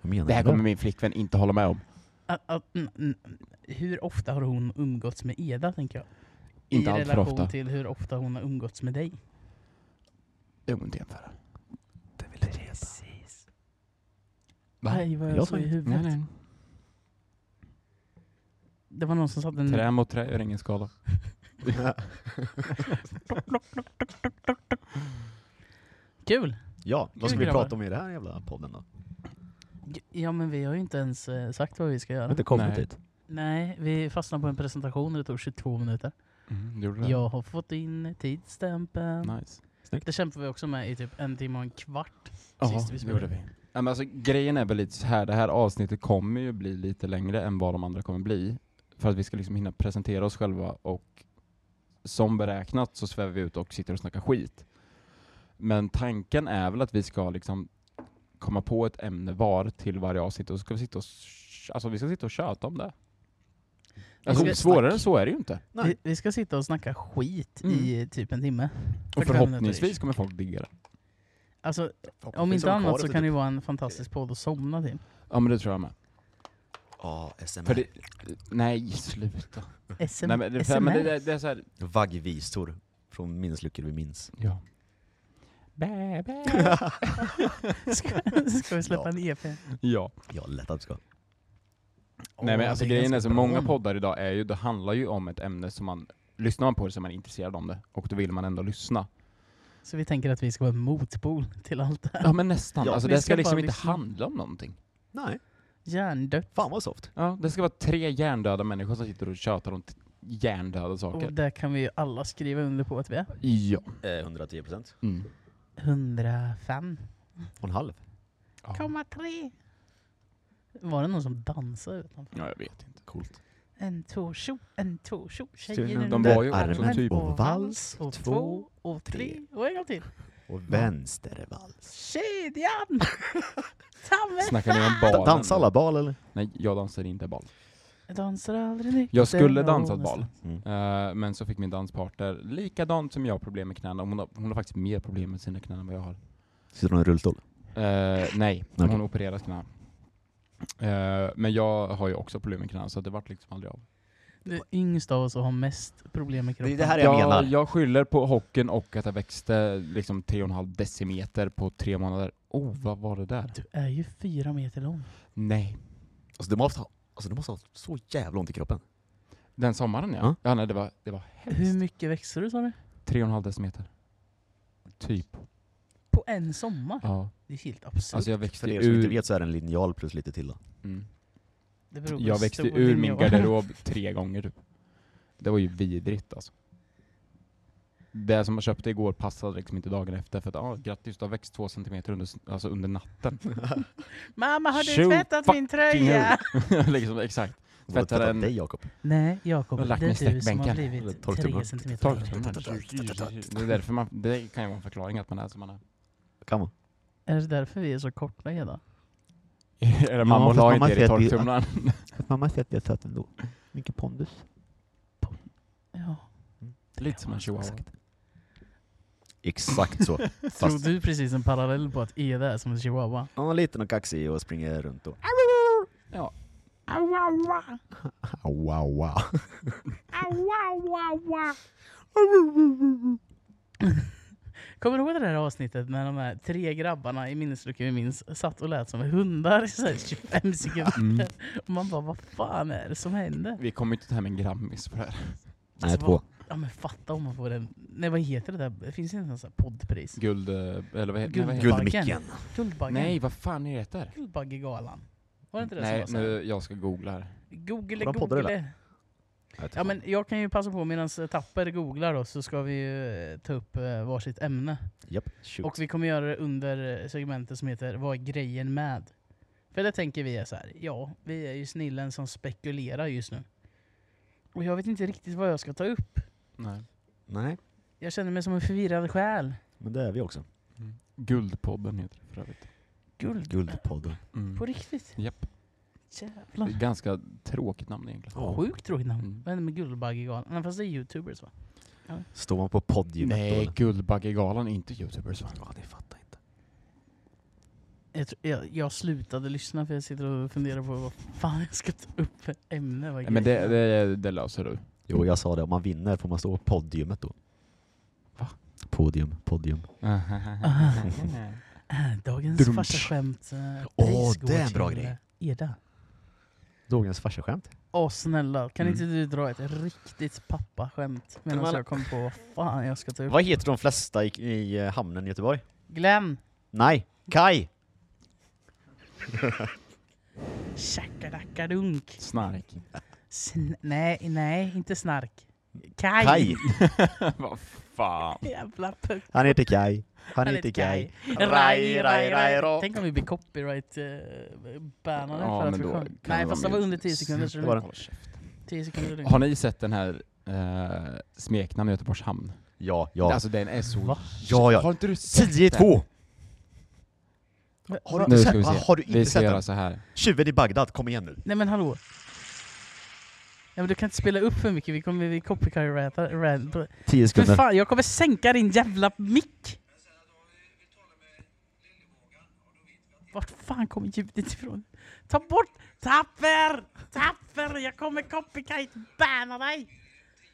Speaker 3: Vad menar
Speaker 2: Det här
Speaker 3: du?
Speaker 2: kommer min flickvän inte hålla med om.
Speaker 1: Att, att, n- n- hur ofta har hon umgåtts med Eda, tänker jag?
Speaker 2: Inte
Speaker 1: I
Speaker 2: allt för
Speaker 1: relation
Speaker 2: ofta.
Speaker 1: till hur ofta hon har umgåtts med dig.
Speaker 2: Dumt jämföra.
Speaker 1: Precis.
Speaker 2: Va?
Speaker 1: Nej, vad jag,
Speaker 3: Jag
Speaker 1: sa i
Speaker 3: sa-
Speaker 1: huvudet.
Speaker 2: Nej, nej.
Speaker 1: Det var någon som satte en...
Speaker 2: Trä mot trä gör ingen skada.
Speaker 1: Kul!
Speaker 3: Ja,
Speaker 2: Kul,
Speaker 3: vad ska vi
Speaker 2: grabbar.
Speaker 3: prata om i den här jävla podden då?
Speaker 1: G- Ja men vi har ju inte ens eh, sagt vad vi ska
Speaker 3: Har
Speaker 1: göra.
Speaker 3: inte kommit
Speaker 2: Nej.
Speaker 3: dit?
Speaker 1: Nej, vi fastnade på en presentation och det tog 22 minuter.
Speaker 2: Mm, gjorde det?
Speaker 1: Jag har fått in tidsstämpeln.
Speaker 2: Nice.
Speaker 1: Det kämpar vi också med i typ en timme och en kvart.
Speaker 2: Ja,
Speaker 1: Sist vi
Speaker 2: det
Speaker 1: spelade.
Speaker 2: gjorde vi. Ja, men alltså, grejen är väl lite så här, det här avsnittet kommer ju bli lite längre än vad de andra kommer bli. För att vi ska liksom hinna presentera oss själva och som beräknat så svävar vi ut och sitter och snackar skit. Men tanken är väl att vi ska liksom komma på ett ämne var till varje avsnitt och så ska vi sitta och, sh- alltså, vi ska sitta och tjöta om det. Alltså,
Speaker 1: ska-
Speaker 2: svårare än så är det ju inte.
Speaker 3: Nej.
Speaker 1: Vi, vi ska sitta och snacka skit
Speaker 2: Mm.
Speaker 1: i typ en timme.
Speaker 2: Och
Speaker 1: 45 minuter
Speaker 2: förhoppningsvis
Speaker 1: ish.
Speaker 2: kommer folk digga det.
Speaker 1: Alltså, om
Speaker 3: Förhoppningsvis
Speaker 1: inte
Speaker 3: har de kvar
Speaker 1: annat så
Speaker 3: efter
Speaker 1: kan det
Speaker 3: typ-
Speaker 1: ju vara en fantastisk podd att somna till.
Speaker 2: Ja men det tror jag med.
Speaker 3: Ja, SMR.
Speaker 2: För det, nej, sluta.
Speaker 1: SM,
Speaker 2: Nej, men det,
Speaker 1: SMR.
Speaker 2: men det, det, det är så här,
Speaker 3: Vaggvisor från minnesluckor vi minns.
Speaker 2: ja.
Speaker 1: ska, ska vi släppa en E EP?
Speaker 2: Ja.
Speaker 3: Ja, lätt att vi ska.
Speaker 2: Nej men
Speaker 1: Åh,
Speaker 2: alltså
Speaker 1: det
Speaker 2: grejen är
Speaker 1: ganska
Speaker 2: så många
Speaker 1: bra.
Speaker 2: poddar idag är ju, det handlar ju om ett ämne som man, lyssnar man på det så är man intresserad om det och då vill man ändå lyssna.
Speaker 1: Så vi tänker att vi ska vara en motpol till allt det här.
Speaker 2: Ja men nästan.
Speaker 3: Ja,
Speaker 2: alltså
Speaker 1: vi
Speaker 2: det ska,
Speaker 1: ska
Speaker 2: liksom
Speaker 1: bara
Speaker 2: inte
Speaker 1: lyssna.
Speaker 2: handla om någonting.
Speaker 3: Nej,
Speaker 1: Hjärndött.
Speaker 3: fan vad soft.
Speaker 2: Ja, det ska vara tre hjärndöda människor som sitter och tjötar om t- hjärndöda saker.
Speaker 1: Och där kan vi ju alla skriva under på att vi är.
Speaker 2: Ja.
Speaker 3: Eh, 110 procent.
Speaker 2: Mm.
Speaker 1: 105.
Speaker 3: Och en halv.
Speaker 2: ja.
Speaker 1: 0,3. Var det någon som dansade utanför?
Speaker 2: Ja, jag vet inte.
Speaker 3: Coolt.
Speaker 1: En, två, tjo, en, två, tjo.
Speaker 2: De
Speaker 1: Tjejer
Speaker 2: var
Speaker 1: under
Speaker 2: ju också
Speaker 1: armen
Speaker 2: typ-
Speaker 1: och vals och två och tre
Speaker 3: tre.
Speaker 1: och en gång till.
Speaker 3: Och vänstervals.
Speaker 1: Kedjan! Tamme
Speaker 2: Snackar ni om
Speaker 3: Da-
Speaker 2: balen?
Speaker 3: Dansa alla bal eller?
Speaker 2: Nej, jag dansar inte bal.
Speaker 1: fan! Dansar aldrig nykter.
Speaker 2: Jag skulle
Speaker 1: och
Speaker 2: dansat
Speaker 1: nästan-
Speaker 2: bal,
Speaker 3: Mm.
Speaker 2: eh, men så fick min danspartner, likadant som jag, har problem med knäna. Hon har, hon har faktiskt mer problem med sina knän än vad jag har.
Speaker 3: Sitter hon i rullstol?
Speaker 2: Eh, nej,
Speaker 3: Okej.
Speaker 2: hon har opererat knä. Eh, men jag har ju också problem med knä, så det vart liksom aldrig av.
Speaker 1: Det är yngst av oss och har mest problem med
Speaker 3: Det
Speaker 1: kroppen.
Speaker 3: är det här jag, menar.
Speaker 2: Jag, jag skyller på hockeyn och att jag växte liksom 3,5 decimeter på tre månader. Oh, vad var det där?
Speaker 1: Du är ju fyra meter lång.
Speaker 2: Nej.
Speaker 3: Alltså, du måste ha, alltså du måste ha så jävla ont i kroppen.
Speaker 2: Den sommaren ja.
Speaker 3: Ja.
Speaker 2: Ja, nej, det var, det var
Speaker 1: Hur
Speaker 2: hemskt.
Speaker 1: mycket växer du sa du?
Speaker 2: 3,5 decimeter. Typ.
Speaker 1: På en sommar?
Speaker 2: Ja.
Speaker 1: Det är helt absurt.
Speaker 2: Alltså jag
Speaker 3: För
Speaker 2: växte
Speaker 3: er som inte
Speaker 2: ur,
Speaker 3: vet så är det en linjal plus lite till då.
Speaker 2: mm.
Speaker 1: det beror på
Speaker 2: jag
Speaker 1: hur
Speaker 2: växte
Speaker 1: stor
Speaker 2: ur
Speaker 1: din
Speaker 2: min
Speaker 1: jag-
Speaker 2: garderob tre gånger typ. Det var ju vidrigt alltså. Det som jag köpte igår passade liksom inte dagen efter för att ah, grattis, du har växt två centimeter under, s- alltså under natten.
Speaker 1: Mamma har du
Speaker 2: Shoot
Speaker 1: tvättat min tröja?
Speaker 2: liksom, exakt.
Speaker 3: Borde
Speaker 2: Tvättar
Speaker 3: tvätta
Speaker 2: en-
Speaker 3: dig Jakob.
Speaker 1: Nej Jakob,
Speaker 2: Jag har lagt
Speaker 1: det
Speaker 2: mig i
Speaker 1: är du som har
Speaker 2: sträckbänken.
Speaker 1: blivit
Speaker 3: Torktumlaren.
Speaker 1: tre centimeter lång.
Speaker 2: Det är därför man, det kan ju vara en förklaring att man är som man är.
Speaker 3: Kan man?
Speaker 1: Är det därför vi är så korta Eda?
Speaker 2: Eller mammor
Speaker 4: fast
Speaker 2: la
Speaker 4: mamma
Speaker 2: inte er i
Speaker 4: säger att vi-
Speaker 2: torktumlaren.
Speaker 4: Att mamma säger att jag är söt ändå. Mycket pondus.
Speaker 1: Ja.
Speaker 2: Lite som en chihuahua.
Speaker 4: Exakt.
Speaker 3: Exakt så.
Speaker 1: Tror
Speaker 3: Fast
Speaker 1: du precis en parallell på att Eda är som en chihuahua?
Speaker 3: ja, liten och kaxig och springer runt och...
Speaker 2: Ja.
Speaker 3: Au, au, au.
Speaker 1: Kommer du ihåg det där avsnittet när de här tre grabbarna i minnesluckan vi minns satt och lät som hundar i så här 25 sekunder?
Speaker 2: Mm.
Speaker 1: Och man bara, vad fan är det som händer?
Speaker 2: Vi kommer ju inte ta hem en grammis för det här.
Speaker 4: Alltså,
Speaker 3: Nej, två.
Speaker 1: Ja men fatta om man får en... Nej vad heter det där? Det finns inte en sån här poddpris.
Speaker 2: Guld... eh, Eller vad heter
Speaker 1: Guld-
Speaker 2: det?
Speaker 3: Guldmicken.
Speaker 1: Guldbaggen.
Speaker 2: Nej, vad fan är det heter?
Speaker 1: Guldbaggegalan. Var det inte det
Speaker 2: Nej,
Speaker 1: som var så här?
Speaker 2: nu, jag ska googla här.
Speaker 1: Google,
Speaker 3: Har de poddar
Speaker 1: google. Ja, men jag kan ju passa på medan Tapper googlar då, så ska vi ju eh, ta upp eh, varsitt ämne.
Speaker 3: Japp, shoot.
Speaker 1: Och vi kommer göra det under eh, segmentet som heter Vad är grejen med? För det tänker vi är så här, ja, vi är ju snillen som spekulerar just nu. Och jag vet inte riktigt vad jag ska ta upp.
Speaker 2: Nej.
Speaker 3: Nej,
Speaker 1: Jag känner mig som en förvirrad själ.
Speaker 3: men det är vi också.
Speaker 2: Mm. Guldpodden heter det för övrigt.
Speaker 1: Guld.
Speaker 3: Guldpodden.
Speaker 2: Mm.
Speaker 1: På riktigt?
Speaker 2: Japp. Det är
Speaker 1: Jävlar.
Speaker 2: ett ganska tråkigt namn egentligen.
Speaker 1: Sjukt tråkigt namn.
Speaker 2: Mm.
Speaker 1: Vad hände med Guldbaggegalan? Nej, Fast det är youtubers va?
Speaker 3: Står man på podgymmet
Speaker 2: Nej,
Speaker 3: då?
Speaker 2: Guldbaggegalan är inte youtubers va?
Speaker 3: Ja, det fattar jag inte.
Speaker 1: Jag, tror- jag, jag slutade lyssna för jag sitter och funderar på vad fan jag ska ta upp för ämne. Vad
Speaker 2: Nej, men det,
Speaker 1: grejen är.
Speaker 2: det, det löser du.
Speaker 3: Jo, jag sa det. Om man vinner får man stå på podgymmet då.
Speaker 2: Va?
Speaker 3: Podium, podium.
Speaker 1: Äh, Dagens
Speaker 2: Drums.
Speaker 1: farsa skämt. eh,
Speaker 3: Åh,
Speaker 1: pris går
Speaker 3: det är en bra
Speaker 1: till,
Speaker 3: grej.
Speaker 1: eh, Eda.
Speaker 3: Dagens farsaskämt.
Speaker 1: Åh snälla, kan
Speaker 2: Mm.
Speaker 1: inte du dra ett riktigt pappaskämt? Medan
Speaker 3: Men-
Speaker 1: jag kom på vad fan jag ska ta upp.
Speaker 3: Vad heter de flesta i, i eh, hamnen i Göteborg?
Speaker 1: Glenn!
Speaker 3: Nej, Kaj!
Speaker 1: Tjackardackadunk!
Speaker 2: Snark.
Speaker 1: Sn- nej, nej, inte snark. Kaj!
Speaker 3: Kaj!
Speaker 2: Vad fan.
Speaker 1: Jävla puck.
Speaker 3: Han heter Kaj. Han heter Kaj. Raj, raj, raj, rå.
Speaker 1: Tänk om vi blir copyright-bannade
Speaker 2: Ja,
Speaker 1: för att
Speaker 2: men
Speaker 1: vi
Speaker 2: då
Speaker 1: sjöng.
Speaker 2: kan
Speaker 1: Nej
Speaker 2: det
Speaker 1: fast det var
Speaker 2: vara med.
Speaker 1: under 10 sekunder så det
Speaker 3: Det var
Speaker 1: var
Speaker 3: det.
Speaker 2: Håll käften.
Speaker 1: 10 sekunder är lugnt.
Speaker 2: Har ni sett den här eh, smeknamn i Göteborgs hamn?
Speaker 3: Ja, ja.
Speaker 2: Alltså den är så...
Speaker 1: Va?
Speaker 3: Ja, ja.
Speaker 2: Har inte du
Speaker 3: Alltså,
Speaker 2: sett
Speaker 3: 10-2!
Speaker 1: Men-
Speaker 3: Har du
Speaker 2: Nu
Speaker 3: inte
Speaker 2: ska vi
Speaker 3: sett,
Speaker 2: se.
Speaker 3: va, har du
Speaker 2: Vi
Speaker 3: inte
Speaker 2: ska
Speaker 3: sett
Speaker 2: göra
Speaker 3: den?
Speaker 2: så här.
Speaker 3: Tjuven i Bagdad, kom igen nu.
Speaker 1: Nej men hallå. Ja, men du kan inte spela upp för mycket, vi kommer vi copyrighta. rant-
Speaker 3: 10
Speaker 1: För fan, jag kommer sänka din jävla mick! Vart fan kommer ljudet ifrån? Ta bort! Tapper! Tapper! Jag kommer copycat-banna dig!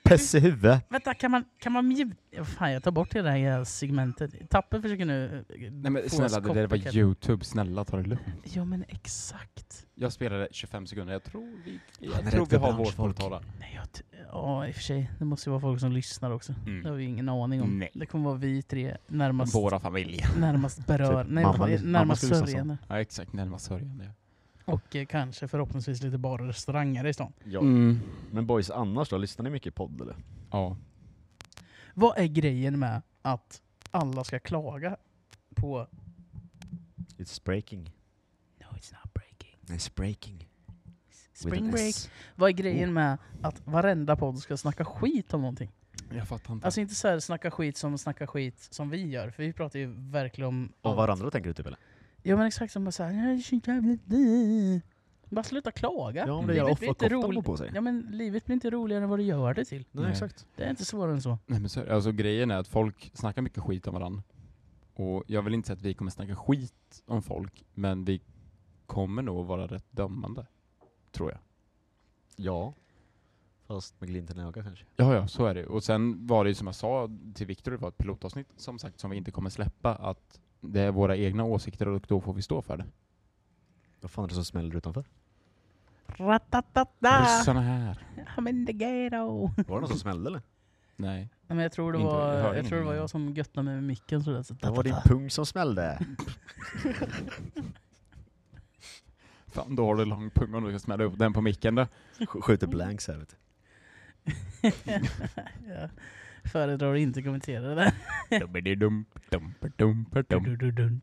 Speaker 3: Pess i huvudet.
Speaker 1: Vänta, kan man, kan man mjuta? Fan, jag tar bort hela det här segmentet. Tapper försöker nu eh,
Speaker 2: Nej men
Speaker 1: få
Speaker 2: snälla,
Speaker 1: oss
Speaker 2: det där
Speaker 1: copycat.
Speaker 2: var youtube, snälla ta det lugnt.
Speaker 1: Ja men exakt.
Speaker 2: Jag spelade 25 sekunder, jag tror vi,
Speaker 3: Han är
Speaker 2: jag tror
Speaker 3: rätt
Speaker 2: vi har
Speaker 3: bransch,
Speaker 2: vårt
Speaker 3: folk.
Speaker 2: portala.
Speaker 1: Nej, jag t- ja, i och för sig. Det måste ju vara folk som lyssnar också.
Speaker 2: Mm.
Speaker 1: Det har vi ingen aning om.
Speaker 2: Nej.
Speaker 1: Det kommer vara vi tre närmast,
Speaker 2: Våra familjer.
Speaker 1: närmast berör,
Speaker 3: Typ
Speaker 1: nej,
Speaker 3: mamma-
Speaker 1: vad fan,
Speaker 3: mamma
Speaker 1: närmast
Speaker 3: skulle lyssna så.
Speaker 1: sörjande.
Speaker 2: Ja exakt, närmast sörjande.
Speaker 1: Och eh, kanske förhoppningsvis lite bar och restauranger i stan.
Speaker 3: Ja.
Speaker 2: Mm.
Speaker 3: Men boys, annars då? Lyssnar ni mycket podd eller?
Speaker 2: Ja.
Speaker 1: Vad är grejen med att alla ska klaga på
Speaker 3: It's breaking.
Speaker 1: No it's not breaking.
Speaker 3: It's breaking.
Speaker 1: Spring break. Vad är grejen med att varenda podd ska snacka skit om någonting?
Speaker 2: Jag fattar inte.
Speaker 1: Alltså inte så här snacka skit som snacka skit som vi gör, för vi pratar ju verkligen om...
Speaker 3: Av
Speaker 1: allt.
Speaker 3: varandra tänker du typ eller?
Speaker 1: Ja men exakt, som bara såhär... "Nej, det är så jävla- Bara sluta klaga.
Speaker 3: om
Speaker 2: det
Speaker 1: gör
Speaker 3: off
Speaker 1: ofta
Speaker 3: och
Speaker 1: lite
Speaker 3: koftan
Speaker 1: roligt.
Speaker 3: går på sig.
Speaker 1: Ja men livet blir inte roligare än vad du gör det till.
Speaker 2: Nej, exakt.
Speaker 1: Det är inte svårare än så.
Speaker 2: Nej, men så, är det. alltså grejen är att folk snackar mycket skit om varandra. Och jag vill inte säga att vi kommer snacka skit om folk, men vi kommer nog vara rätt dömande. Tror jag.
Speaker 3: Ja. Fast med glimten i ögat kanske.
Speaker 2: Ja, ja, så är det. Och sen var det ju som jag sa till Viktor, det var ett pilotavsnitt som sagt som vi inte kommer släppa, att det är våra egna åsikter och då får vi stå för det.
Speaker 3: Vad fan är det som smäller utanför?
Speaker 2: Ah.
Speaker 1: Ratatata!
Speaker 2: Ryssarna här.
Speaker 1: I'm in the ghetto!
Speaker 3: Var det någon som smällde eller?
Speaker 2: Nej.
Speaker 1: Nej, men jag tror det
Speaker 2: Inte-
Speaker 1: var
Speaker 2: jag hörde
Speaker 1: jag, tror det var
Speaker 2: ingenting.
Speaker 1: jag som göttade mig med micken sådär. Så
Speaker 3: Det var din
Speaker 1: ta-ta-ta.
Speaker 3: pung som smällde.
Speaker 2: Fan, då har du lång pung om du ska smälla upp den på micken då.
Speaker 3: Sk- Skjuter
Speaker 1: Mm.
Speaker 3: blanks här vet du.
Speaker 1: Jag föredrar att inte kommentera det där.
Speaker 2: Dubbididum, dumperdumperdumperdum.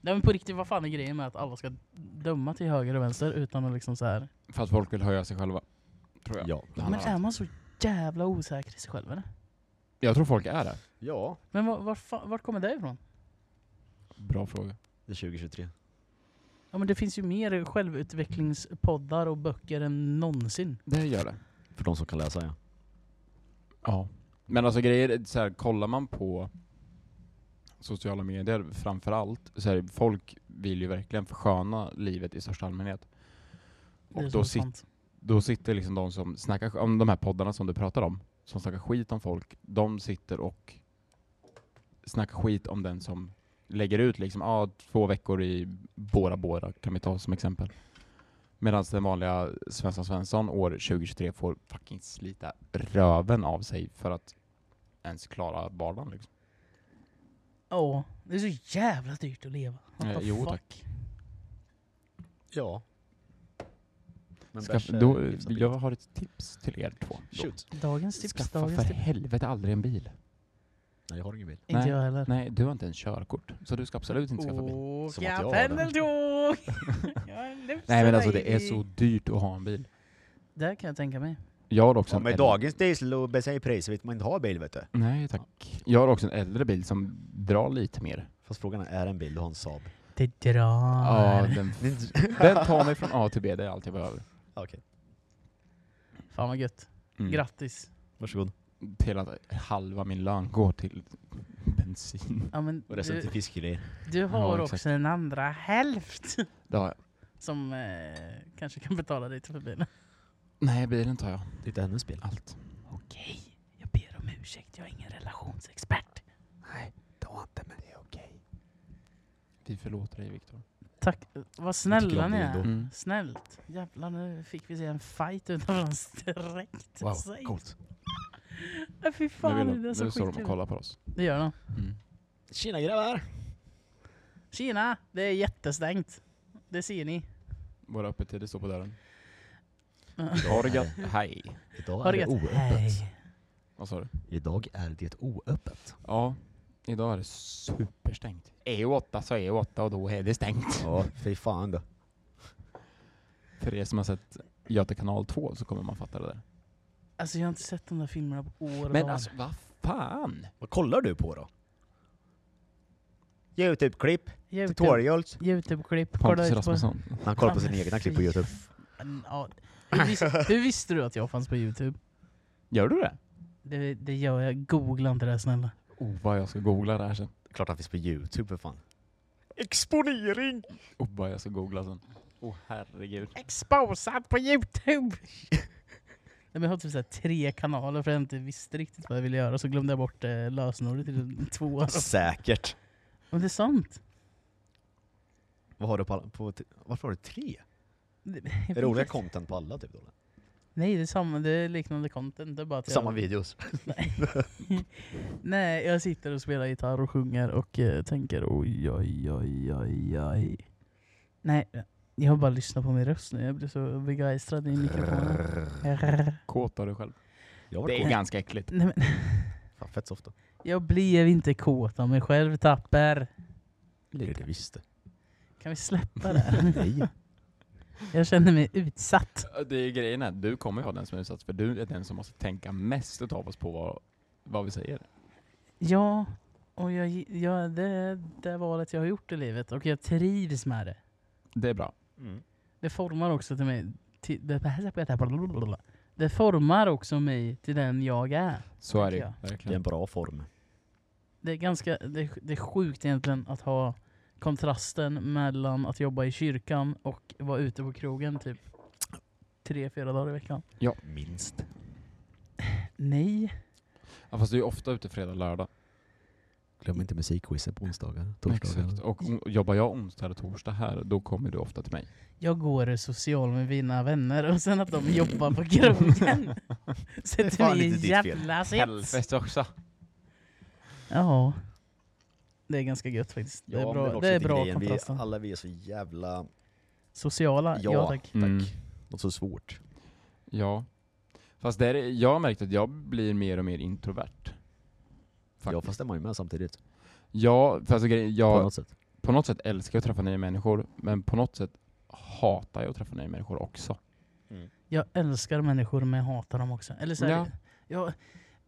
Speaker 1: Nej men på riktigt, vad fan är grejen med att alla ska döma till höger och vänster utan att liksom så här.
Speaker 2: För att folk vill höja sig själva. Tror jag.
Speaker 3: Ja.
Speaker 2: Ja,
Speaker 1: Men är man så jävla osäker i sig själv eller?
Speaker 2: Jag tror folk är det.
Speaker 3: Ja.
Speaker 1: Men var, var, fa- vart kommer det ifrån?
Speaker 2: Bra fråga.
Speaker 3: Det är 2023.
Speaker 1: Ja men det finns ju mer självutvecklingspoddar och böcker än någonsin.
Speaker 2: Det gör det.
Speaker 3: För de som kan läsa ja.
Speaker 2: Ja. Men alltså grejer, är så här, kollar man på sociala medier framför allt, så här, folk vill ju verkligen försköna livet i största allmänhet.
Speaker 1: Det är
Speaker 2: Och
Speaker 1: så
Speaker 2: då, sit,
Speaker 1: sant.
Speaker 2: då sitter liksom de som snackar, om de här poddarna som du pratar om, som snackar skit om folk, de sitter och snackar skit om den som lägger ut liksom, ah, två veckor i Bora Bora kan vi ta som exempel. Medan den vanliga Svensson Svensson år 2023 får fucking slita röven av sig för att ens klara vardagen. Liksom.
Speaker 1: Ja, det är så jävla dyrt att leva. What
Speaker 2: Eh,
Speaker 1: the
Speaker 2: jo,
Speaker 1: fuck?
Speaker 2: tack.
Speaker 3: Ja. Men
Speaker 2: Ska,
Speaker 3: bärs är
Speaker 2: då,
Speaker 3: hyfsat
Speaker 2: jag
Speaker 3: billigt.
Speaker 2: har ett tips till er två. då.
Speaker 3: Shoot.
Speaker 1: Dagens tips,
Speaker 2: Skaffa
Speaker 1: dagens
Speaker 2: för
Speaker 1: tips.
Speaker 2: helvete aldrig en bil.
Speaker 3: Nej jag har ingen bil.
Speaker 1: Inte
Speaker 2: Nej.
Speaker 1: jag heller.
Speaker 2: Nej, du har inte ens körkort, så du ska absolut inte skaffa bil.
Speaker 3: Som att
Speaker 1: Åka
Speaker 3: jag har det.
Speaker 1: pendeltåg! Jag lusar
Speaker 2: Nej men alltså det är
Speaker 1: dig.
Speaker 2: så dyrt att ha en bil.
Speaker 1: Där kan jag tänka mig.
Speaker 2: Jag har också
Speaker 3: Ja,
Speaker 2: en
Speaker 3: med
Speaker 2: äldre-
Speaker 3: dagens diesel och bensinpriser vet man inte ha bil vet du.
Speaker 2: Nej tack. Jag har också en äldre bil som drar lite mer.
Speaker 3: Fast frågan är, är det en bil du har en Saab?
Speaker 1: Det drar.
Speaker 2: Ja, den,
Speaker 3: Det är inte-
Speaker 2: den tar mig från A till B, det är allt jag behöver.
Speaker 3: Ja, Okej,
Speaker 1: Fan vad gött.
Speaker 2: Mm.
Speaker 1: Grattis.
Speaker 3: varsågod.
Speaker 2: Hela halva min lön går till bensin.
Speaker 1: Ja, men
Speaker 3: Och resten till
Speaker 1: du,
Speaker 3: fiskgrejer.
Speaker 1: du har
Speaker 2: Ja, exakt.
Speaker 1: också en andra hälft
Speaker 2: Det har jag.
Speaker 1: som eh, kanske kan betala dig till bilen.
Speaker 2: Nej, bilen tar jag.
Speaker 3: Det är inte hennes bil.
Speaker 2: Allt.
Speaker 1: Okej, jag ber om ursäkt. Jag är ingen relationsexpert.
Speaker 4: Ta inte men det är okej.
Speaker 2: Vi förlåter dig Viktor.
Speaker 1: Tack. Vad
Speaker 3: Jag tycker
Speaker 1: snälla
Speaker 3: om
Speaker 1: ni
Speaker 3: det
Speaker 1: är.
Speaker 3: ändå.
Speaker 2: Mm.
Speaker 1: Snällt. Jävlar, nu fick vi se en fight utan att de sträckte
Speaker 3: Wow,
Speaker 1: sig.
Speaker 3: coolt.
Speaker 1: Ja, Fy
Speaker 2: Nu, vill
Speaker 1: fan,
Speaker 2: de,
Speaker 1: det
Speaker 2: nu
Speaker 1: är så
Speaker 2: står de och
Speaker 1: skitkul.
Speaker 2: kollar på oss.
Speaker 1: Det gör de.
Speaker 2: Mm.
Speaker 3: Tjena grabbar!
Speaker 1: Kina, det är jättestängt. Det ser ni.
Speaker 2: Våra öppettider står på dörren.
Speaker 3: Idag är det,
Speaker 2: Hej.
Speaker 3: idag
Speaker 1: Har det
Speaker 3: är det
Speaker 1: gött?
Speaker 3: oöppet.
Speaker 1: Hej.
Speaker 2: Vad sa du?
Speaker 3: Idag är det oöppet.
Speaker 2: Ja, idag är det superstängt. Är E åtta så är åtta och då är det stängt.
Speaker 3: Ja, fy fan då.
Speaker 2: För er som har sett Göta kanal 2 så kommer man fatta det där.
Speaker 1: Alltså jag har inte sett de där filmerna på år och
Speaker 2: Men
Speaker 1: dagar.
Speaker 2: alltså, vad fan?
Speaker 3: Vad kollar du på då? Youtube-klipp,
Speaker 1: Youtube-
Speaker 3: tutorials.
Speaker 1: Youtube-klipp. kolla
Speaker 2: Pontus
Speaker 1: ut på-
Speaker 2: Rasmusson.
Speaker 3: Han kollar på
Speaker 1: Ja,
Speaker 3: sina
Speaker 1: men
Speaker 3: egna klipp på
Speaker 1: fy
Speaker 3: Youtube.
Speaker 1: fan, Ja, hur, visste, hur visste du att jag fanns på Youtube?
Speaker 2: Gör du det?
Speaker 1: Det, det gör jag. Googla inte det här, snälla.
Speaker 2: Oh, vad jag ska googla det här sen.
Speaker 3: Klart han finns på Youtube för fan. Exponering!
Speaker 2: Oh, vad jag ska googla sen. Åh oh, herregud.
Speaker 1: Exposad på Youtube! Nej, men jag har typ så här tre kanaler för jag inte visste riktigt vad jag ville göra, så glömde jag bort eh, lösenordet till två.
Speaker 3: Säkert.
Speaker 1: Men det är sant.
Speaker 3: Vad har du på alla? På, t- varför har du tre?
Speaker 1: Det-
Speaker 3: Är det olika content på alla typ? Då?
Speaker 1: Nej, det är, samma, det är liknande content. Det är bara att jag-
Speaker 3: Samma videos.
Speaker 1: Nej, jag sitter och spelar gitarr och sjunger och eh, tänker oj, oj, oj, oj, oj. Nej, jag har bara lyssnat på min röst nu. Jag blir så begeistrad i mikrofonen. Rrrr.
Speaker 2: Kåtar du själv?
Speaker 3: Jag var cool.
Speaker 2: ganska äckligt.
Speaker 1: Nej, men,
Speaker 3: Fan, fett soft då.
Speaker 1: jag blev inte kåt av mig själv, Tapper.
Speaker 3: Det är det visst.
Speaker 1: Kan vi släppa det här?
Speaker 3: Nej.
Speaker 1: Jag känner mig utsatt.
Speaker 2: Det är ju grejen här, du kommer ju vara den som är utsatt för du är den som måste tänka mest utav oss på vad, vad vi säger.
Speaker 1: Ja, och jag, ja, det är det valet jag har gjort i livet och jag trivs med det.
Speaker 2: Det är bra.
Speaker 3: Mm.
Speaker 1: Det formar också till mig... Till, det formar också mig till den jag är.
Speaker 2: Så är det ju.
Speaker 1: Tycker
Speaker 3: Det är en
Speaker 2: Verkligen.
Speaker 3: bra form.
Speaker 1: det är ganska det, är- det är sjukt egentligen att ha kontrasten mellan att jobba i kyrkan och vara ute på krogen typ tre, fyra dagar i veckan.
Speaker 3: Minst.
Speaker 1: Nej.
Speaker 2: Ja, fast du är ju ofta ute fredag, lördag.
Speaker 3: Glöm inte musikquizen på onsdagar.
Speaker 2: Exakt. Och o- jobbar jag onsdag och torsdag här, då kommer du ofta till mig.
Speaker 1: Jag går social med mina vänner och sen att de jobbar på krogen sätter
Speaker 3: fan
Speaker 1: mig i en
Speaker 3: inte ditt fel.
Speaker 1: jävla sits.
Speaker 2: också.
Speaker 1: Ja. Det är ganska gött faktiskt. Det är
Speaker 3: Ja, men
Speaker 1: bra,
Speaker 3: också
Speaker 1: det är
Speaker 3: lite
Speaker 1: bra
Speaker 3: grejen. vi,
Speaker 1: kontrasten.
Speaker 3: Alla vi är så jävla...
Speaker 1: Sociala, ja,
Speaker 3: Ja.
Speaker 1: tack.
Speaker 2: Mm.
Speaker 3: Något så svårt.
Speaker 2: Ja. Fast där är, jag har märkt att jag blir mer och mer introvert.
Speaker 3: Ja
Speaker 2: Faktiskt.
Speaker 3: fast det är man ju med samtidigt.
Speaker 2: Ja, för alltså, grejen-
Speaker 3: På
Speaker 2: jag,
Speaker 3: något sätt.
Speaker 2: på något sätt älskar jag att träffa nya människor, men på något sätt hatar jag att träffa nya människor också.
Speaker 1: Jag älskar människor men jag hatar dem också. Eller så här,
Speaker 2: Ja.
Speaker 1: ja.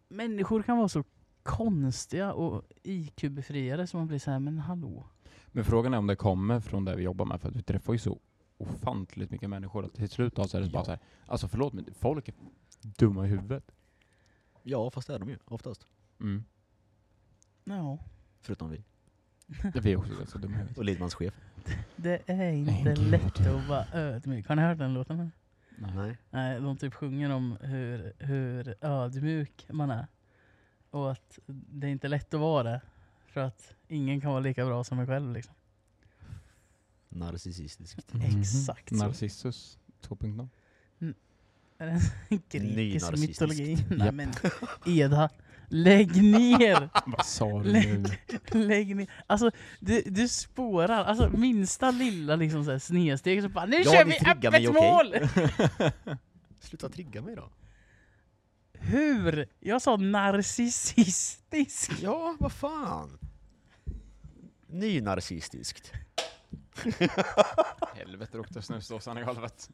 Speaker 1: människor kan vara så konstiga och IQ-befriade som man blir så här, men hallå.
Speaker 2: Men frågan är om det kommer från det vi jobbar med, för att vi träffar ju så ofantligt mycket människor att till slut då så är det bara så här, alltså förlåt men folk är dumma i huvudet.
Speaker 3: Ja fast det är de ju oftast.
Speaker 2: Mm.
Speaker 1: Ja,
Speaker 3: Förutom vi.
Speaker 2: Vi är också ganska dumma i huvudet.
Speaker 3: Och Lidmans chef.
Speaker 1: det är inte
Speaker 2: Nej, gud.
Speaker 1: lätt att vara ödmjuk. Har ni hört den låten?
Speaker 2: Nej.
Speaker 1: Nej, de typ sjunger om hur, hur ödmjuk man är. Och att det är inte lätt att vara det. För att ingen kan vara lika bra som en själv liksom.
Speaker 3: Narcissistiskt.
Speaker 2: Mm-hmm.
Speaker 1: Exakt så.
Speaker 2: Narcissus 2.0.
Speaker 1: Är det en grekisk
Speaker 3: Nynarcissiskt.
Speaker 1: mytologi? Nej
Speaker 2: Japp.
Speaker 1: men Eda, lägg ner!
Speaker 2: Vad sa du
Speaker 1: Lägg-
Speaker 2: nu?
Speaker 1: Lägg ner. Alltså, du, du spårar. Alltså, minsta lilla liksom, så här, snedsteg så bara Nu
Speaker 3: Ja,
Speaker 1: kör
Speaker 3: ni
Speaker 1: vi
Speaker 3: triggar mig,
Speaker 1: öppet
Speaker 3: okej.
Speaker 1: mål!
Speaker 3: Sluta trigga mig då.
Speaker 1: Hur? Jag sa narcissistisk.
Speaker 3: Ja, vad fan. Nynarcissistiskt.
Speaker 2: Helvete råkade snusdosan i golvet.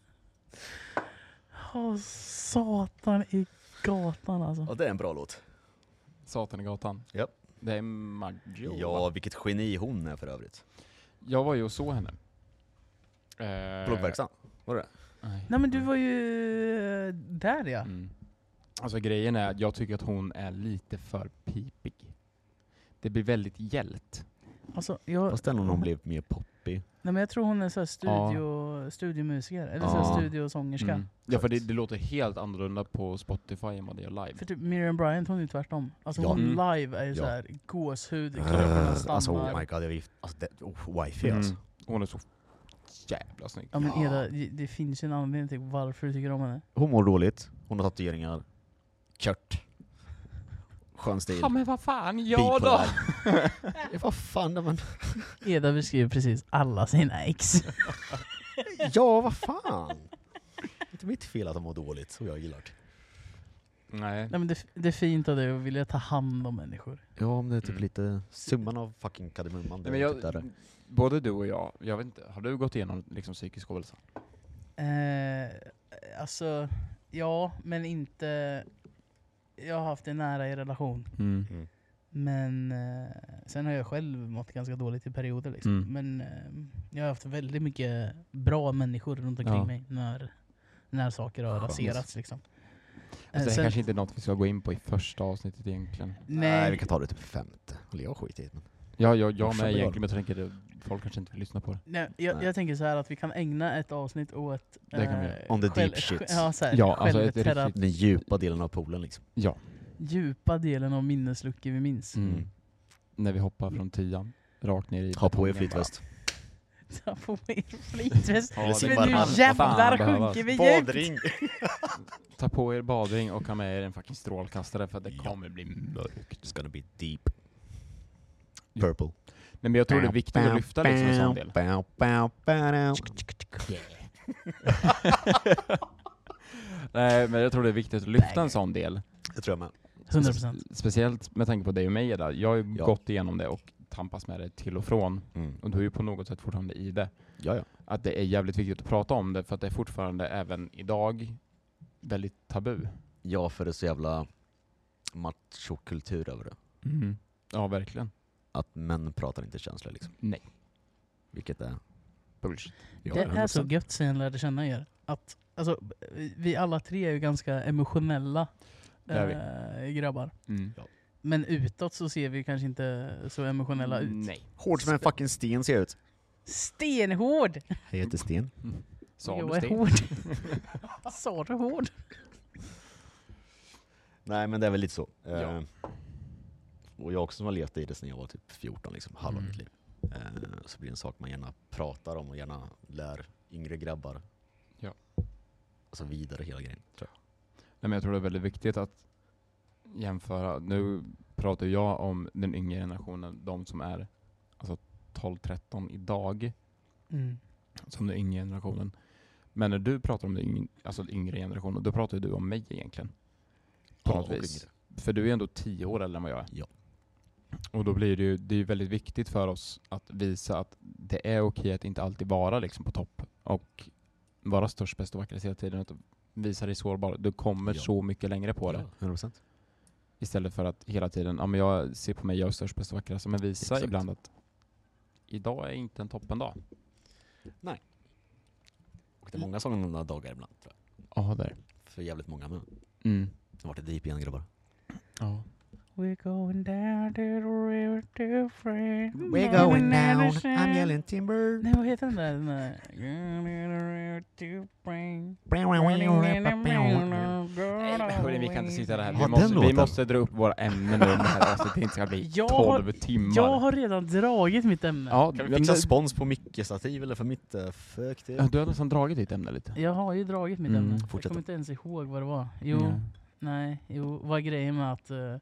Speaker 1: Åh, satan i gatan alltså.
Speaker 3: Ja, det är en bra låt.
Speaker 2: Satan i gatan.
Speaker 3: Ja.
Speaker 2: Det är Maggio
Speaker 3: Ja,
Speaker 2: va?
Speaker 3: vilket geni hon är för övrigt.
Speaker 2: Jag var ju och såg henne. Eh,
Speaker 3: Bloggverksam.
Speaker 2: nej.
Speaker 1: Nej men du var ju eh, där ja.
Speaker 2: Mm. Alltså grejen är att jag tycker att hon är lite för pipig. Det blir väldigt hjält.
Speaker 1: Alltså, jag,
Speaker 3: Fast den om hon blev mer poppig.
Speaker 1: nej, men jag tror hon är så här
Speaker 2: Ja.
Speaker 1: studio, studiomusiker, eller så här
Speaker 2: Ja.
Speaker 1: studiosångerska.
Speaker 2: Mm. Ja för det, det låter helt annorlunda på Spotify än vad det gör live.
Speaker 1: För typ Miriam Bryant hon är ju tvärtom. Alltså
Speaker 3: Ja.
Speaker 1: hon
Speaker 2: Mm.
Speaker 1: live är ju
Speaker 3: Ja.
Speaker 1: såhär gåshud, klockorna
Speaker 3: Uh,
Speaker 1: stammar.
Speaker 3: alltså oh my god, jag, alltså, det, oh, wifi
Speaker 2: Mm.
Speaker 3: alltså.
Speaker 2: Hon är så jävla snygg.
Speaker 1: ja men
Speaker 3: Ja.
Speaker 1: Eda, det, det finns ju en anledning till varför du tycker om henne.
Speaker 3: Hon mår dåligt, hon har tatueringar. Kört. Skön stil.
Speaker 2: men vad fan,
Speaker 3: Bipolär. Ja, Vad fan, det man...
Speaker 1: Eda beskriver precis alla sina ex.
Speaker 3: Ja, vad fan! Det är inte mitt fel att de mår dåligt, och jag gillar det.
Speaker 2: Nej.
Speaker 1: Nej men det, det är fint av dig att vilja ta hand om människor.
Speaker 3: Ja, men det är
Speaker 2: typ
Speaker 3: typ
Speaker 2: Mm.
Speaker 3: lite summan av fucking kardemumman. typ
Speaker 2: Nej, men jag, både du och jag, jag vet inte, har du gått igenom liksom psykisk ohälsa?
Speaker 1: Eh, alltså, ja men inte... Jag har haft det nära i relation.
Speaker 2: Mm.
Speaker 3: Mm.
Speaker 1: Men eh, sen har jag själv mått ganska dåligt i perioder. Liksom.
Speaker 2: Mm.
Speaker 1: Men eh, jag har haft väldigt mycket bra människor runt omkring
Speaker 2: Ja.
Speaker 1: mig när, när saker har
Speaker 3: Skönt.
Speaker 1: raserats. Liksom. Eh,
Speaker 2: Alltså, det
Speaker 1: sen-
Speaker 2: kanske inte är något vi ska gå in på i första avsnittet egentligen.
Speaker 3: Nej. vi
Speaker 1: nej,
Speaker 3: kan ta det typ femte. Eller jag skiter i det. Men...
Speaker 2: Ja, jag, jag
Speaker 3: Morsan
Speaker 2: med
Speaker 3: och jag.
Speaker 2: egentligen, men jag tänker att folk kanske inte vill lyssna på det.
Speaker 1: nej, jag,
Speaker 3: Nej.
Speaker 1: jag tänker så här att vi kan ägna ett avsnitt åt...
Speaker 2: Det kan vi
Speaker 1: eh,
Speaker 2: göra.
Speaker 3: On the deep
Speaker 1: själv-
Speaker 3: shit.
Speaker 1: Ja, så här,
Speaker 2: Ja, alltså ett
Speaker 1: självtera-
Speaker 2: riktigt-
Speaker 3: Den djupa delen av poolen liksom.
Speaker 2: Ja.
Speaker 1: djupa delen av minnesluckor vi minns.
Speaker 3: Mm.
Speaker 2: När vi hoppar från tian, rakt ner i
Speaker 3: Ha på er
Speaker 2: betongen
Speaker 3: flytväst.
Speaker 1: Ta på er flytväst.
Speaker 2: bara.
Speaker 3: Eller
Speaker 2: Ja, det
Speaker 3: simma
Speaker 1: Men nu
Speaker 3: bara-
Speaker 2: är bara-
Speaker 3: Vad
Speaker 1: jävlar
Speaker 2: fan behövas.
Speaker 1: sjunker vi djupt!
Speaker 2: Ta på er badring och ha med er en fucking strålkastare för att det
Speaker 3: Ja.
Speaker 2: kommer bli mörkt.
Speaker 3: It's gonna be deep. Purple.
Speaker 2: Nej men jag tror det är viktigt att lyfta liksom en sån del. Nej men jag tror det är viktigt att lyfta en sån del.
Speaker 3: Det tror jag med.
Speaker 1: 100%.
Speaker 2: Speciellt med tanke på dig och mig Eda. Jag har ju
Speaker 3: Ja.
Speaker 2: gått igenom det och tampas med det till och från.
Speaker 3: Mm.
Speaker 2: Och du är ju på något sätt fortfarande i det.
Speaker 3: Ja, ja.
Speaker 2: Att det är jävligt viktigt att prata om det för att det är fortfarande även idag väldigt tabu.
Speaker 3: Ja, för det är så jävla machokultur över det. Mm.
Speaker 2: Ja verkligen.
Speaker 3: Att män pratar inte känslor liksom.
Speaker 2: Nej.
Speaker 3: Vilket är...
Speaker 2: Bullshit.
Speaker 3: Ja,
Speaker 1: det är
Speaker 3: 100%.
Speaker 1: så gött sen jag lärde känna er. Att, alltså, vi alla tre är ju ganska emotionella
Speaker 2: Det är
Speaker 1: eh, grabbar.
Speaker 3: Mm.
Speaker 1: Men utåt så ser vi kanske inte så emotionella ut.
Speaker 2: Nej.
Speaker 3: Hård som en fucking sten ser jag ut.
Speaker 1: Stenhård!
Speaker 3: Jag heter Sten.
Speaker 2: Mm. Sa
Speaker 1: jag
Speaker 2: du
Speaker 1: är
Speaker 2: Sten?
Speaker 1: hård. Sa du hård?
Speaker 3: Nej men det är väl lite så. Eh,
Speaker 2: Ja.
Speaker 3: och jag också som har levt i det sedan jag var typ 14, liksom, halva
Speaker 2: Mm.
Speaker 3: mitt liv. Eh, så blir det en sak man gärna pratar om och gärna lär yngre grabbar.
Speaker 2: Ja.
Speaker 3: Alltså vidare hela grejen. Tror jag.
Speaker 2: Nej, men jag tror det är väldigt viktigt att jämföra. Nu pratar jag om den yngre generationen, de som är alltså 12-13 idag,
Speaker 1: Mm.
Speaker 2: som den yngre generationen. Men när du pratar om den yngre, alltså den yngre generationen, då pratar ju du om mig egentligen. På
Speaker 3: Ja,
Speaker 2: något
Speaker 3: och
Speaker 2: vis.
Speaker 3: yngre.
Speaker 2: För du är ändå 10 år äldre än vad jag är.
Speaker 3: Ja.
Speaker 2: Och då blir det ju det är ju väldigt viktigt för oss att visa att det är okej att inte alltid vara liksom på topp och vara störst, bäst och vackrast hela tiden. Att visa dig sårbar. Du kommer
Speaker 3: Ja.
Speaker 2: så mycket längre på det.
Speaker 3: Ja, 100%.
Speaker 2: Istället för att hela tiden, ja men jag ser på mig, jag är störst, bäst och vackrast. Men visa
Speaker 3: Exakt.
Speaker 2: ibland att idag är inte en toppendag.
Speaker 3: Och det är många sådana dagar ibland tror jag.
Speaker 2: Ja, där.
Speaker 3: För jävligt många män.
Speaker 2: Mm.
Speaker 3: De har varit i deep igen grabbar.
Speaker 2: Ja.
Speaker 1: We're going down to the river to free.
Speaker 4: We're going down, I'm yelling timber.
Speaker 1: Nej vad heter den där? Den där? Going down the river to free.
Speaker 2: Hörni, vi kan inte sitta här. Vi,
Speaker 3: Ja, den
Speaker 2: måste, vi
Speaker 3: låten.
Speaker 2: måste dra upp våra ämnen nu om det här avsnittet inte ska bli
Speaker 1: Jag har-
Speaker 2: 12 timmar.
Speaker 1: Jag har redan dragit mitt ämne.
Speaker 2: ja,
Speaker 3: Kan vi
Speaker 2: men
Speaker 3: fixa
Speaker 2: det-
Speaker 3: spons på Micke-stativ eller för mitt uh, fuck det?
Speaker 2: Ja, Du har nästan dragit ditt ämne lite.
Speaker 1: Jag har ju dragit mitt
Speaker 2: Mm,
Speaker 1: ämne. Jag
Speaker 3: fortsätt
Speaker 1: kommer
Speaker 3: då.
Speaker 1: inte ens ihåg vad det var. Jo,
Speaker 2: Ja.
Speaker 1: nej, jo, vad är grejen med att eh,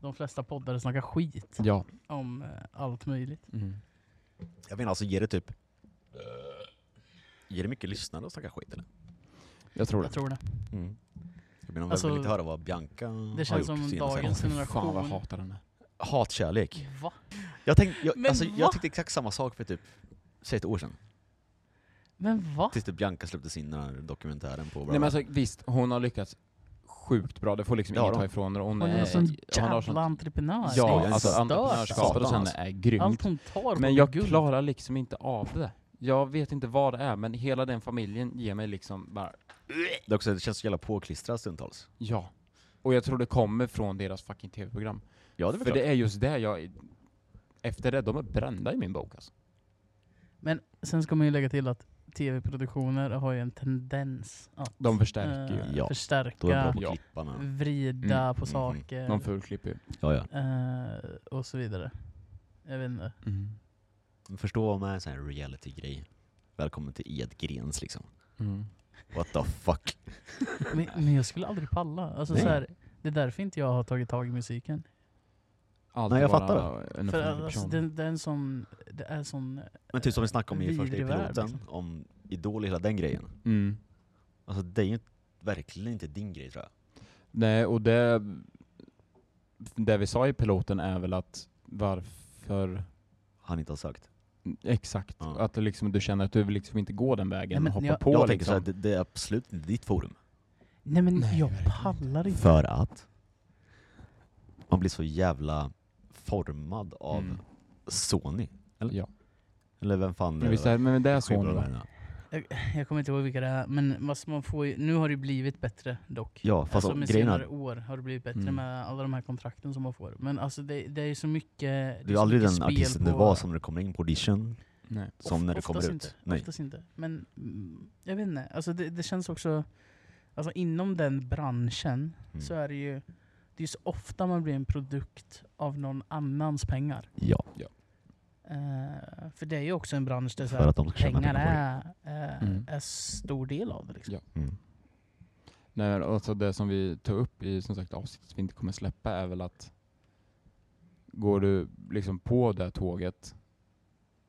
Speaker 1: de flesta poddare snackar skit
Speaker 2: Ja.
Speaker 1: om eh, allt möjligt.
Speaker 2: Mm.
Speaker 3: Jag menar alltså ger det typ... Ger det mycket lyssnare att snacka skit eller?
Speaker 2: Jag tror det.
Speaker 1: Jag tror det.
Speaker 3: Mm. Jag menar,
Speaker 1: Alltså,
Speaker 3: alltså, vill inte höra vad Bianca
Speaker 1: Det
Speaker 3: har
Speaker 1: känns
Speaker 3: gjort
Speaker 1: som
Speaker 3: senaste
Speaker 1: dagens
Speaker 3: säsongen.
Speaker 1: generation.
Speaker 2: Fan vad jag hatar henne.
Speaker 3: Hatkärlek.
Speaker 1: Va?
Speaker 3: Jag, tänkte, jag,
Speaker 1: Men
Speaker 3: alltså,
Speaker 1: va?
Speaker 3: jag tyckte exakt samma sak för typ, säg ett år sedan.
Speaker 1: Men va?
Speaker 3: Tills typ Bianca släppte sin den här dokumentären på
Speaker 2: alltså, Nej men alltså visst, hon har lyckats sjukt bra, det får liksom
Speaker 3: Ja,
Speaker 2: ingen
Speaker 3: då.
Speaker 2: ta ifrån henne. Hon
Speaker 1: Hon är
Speaker 2: är,
Speaker 1: en sån
Speaker 2: hon har
Speaker 1: jävla
Speaker 2: sånt,
Speaker 1: entreprenör. Det är
Speaker 2: ja
Speaker 1: ju
Speaker 2: alltså
Speaker 1: stört,
Speaker 2: entreprenörskapet hos
Speaker 3: alltså.
Speaker 2: henne är grymt.
Speaker 1: Allt hon tar
Speaker 2: Men
Speaker 1: på
Speaker 2: jag
Speaker 1: guld.
Speaker 2: klarar liksom inte av det. Jag vet inte vad det är, men hela den familjen ger mig liksom bara,
Speaker 3: Det, är också, det känns så jävla påklistrat stundtals.
Speaker 2: ja. Och jag tror det kommer från deras fucking tv-program.
Speaker 3: Ja, det är
Speaker 2: För
Speaker 3: väl klart.
Speaker 2: det är just det jag, efter det, de är brända i min bok alltså.
Speaker 1: Men sen ska man ju lägga till att tv-produktioner har ju en tendens att
Speaker 2: De förstärker ju.
Speaker 1: eh,
Speaker 3: Ja, Då är
Speaker 1: förstärka,
Speaker 3: jag bra på
Speaker 2: Ja.
Speaker 3: att klippa med.
Speaker 1: vrida
Speaker 2: Mm,
Speaker 1: på
Speaker 3: mm,
Speaker 1: saker
Speaker 2: De fulklipper ju.
Speaker 3: Ja, ja.
Speaker 1: eh, och så vidare. Jag vet inte.
Speaker 2: Mm.
Speaker 3: Men Förstå vad man är en sån här reality-grej. Välkommen till Edgrens liksom.
Speaker 2: Mm.
Speaker 3: What the fuck?
Speaker 1: Men, men jag skulle aldrig palla. Alltså,
Speaker 3: Nej.
Speaker 1: så här, det är därför inte jag har tagit tag i musiken.
Speaker 2: Alltid
Speaker 3: Nej, jag
Speaker 2: vara
Speaker 3: fattar
Speaker 2: en
Speaker 1: För alltså,
Speaker 2: offentlig person.
Speaker 1: den, den som, det är sån...
Speaker 3: Men typ som vi snackade om i
Speaker 1: Vidrig
Speaker 3: första i
Speaker 1: värld,
Speaker 3: piloten,
Speaker 1: liksom.
Speaker 3: om Idol och hela den grejen.
Speaker 2: Mm.
Speaker 3: Alltså det är ju verkligen inte din grej tror jag.
Speaker 2: Nej, och det, det vi sa i piloten är väl att varför
Speaker 3: Han inte har sagt.
Speaker 2: Exakt,
Speaker 3: Ja.
Speaker 2: att du liksom, du känner att du vill liksom inte gå den vägen
Speaker 1: Nej, men
Speaker 2: och hoppa
Speaker 1: jag-
Speaker 2: på
Speaker 3: jag tänker
Speaker 2: liksom.
Speaker 3: så här, det, det är absolut inte ditt forum.
Speaker 1: Nej men
Speaker 2: Nej,
Speaker 1: jag
Speaker 2: verkligen
Speaker 1: pallar inte.
Speaker 3: För att man blir så jävla formad av
Speaker 2: Mm.
Speaker 3: Sony. Eller?
Speaker 2: Ja.
Speaker 3: Eller vem fan
Speaker 2: Men visst är men det är så nu
Speaker 3: Skivbolag
Speaker 2: då?
Speaker 3: är det.
Speaker 1: Jag kommer inte ihåg vilka det är, men vad som man får ju, nu har det ju blivit bättre dock.
Speaker 3: Ja, fast
Speaker 1: alltså
Speaker 3: om-
Speaker 1: med
Speaker 3: grejen
Speaker 1: senare
Speaker 3: är,
Speaker 1: år har det blivit bättre
Speaker 2: Mm.
Speaker 1: med alla de här kontrakten som man får. Men alltså det, det är ju så mycket... Det
Speaker 3: du är
Speaker 1: så
Speaker 3: aldrig
Speaker 1: mycket
Speaker 3: den
Speaker 1: spel
Speaker 3: artisten du
Speaker 1: på-
Speaker 3: var som när du kommer in på audition,
Speaker 2: Nej.
Speaker 3: som
Speaker 1: Of-
Speaker 3: när du
Speaker 1: oftast
Speaker 3: kommer ut.
Speaker 1: Inte,
Speaker 3: Nej.
Speaker 1: Oftast inte. Men mm, jag vet inte. Alltså det, det känns också... Alltså inom den branschen
Speaker 3: Mm.
Speaker 1: så är det ju... Det är ju så ofta man blir en produkt av någon annans pengar.
Speaker 3: Ja,
Speaker 1: Eh, för det är ju också en bransch där så
Speaker 3: för
Speaker 1: här,
Speaker 3: att de ska tjäna
Speaker 1: pengar
Speaker 3: pengar på det.
Speaker 1: är eh,
Speaker 2: Mm.
Speaker 1: en stor del av det. Liksom.
Speaker 3: Mm.
Speaker 2: Nej, men alltså det som vi tog upp i som sagt avsnittet vi inte kommer släppa är väl att går du liksom på det tåget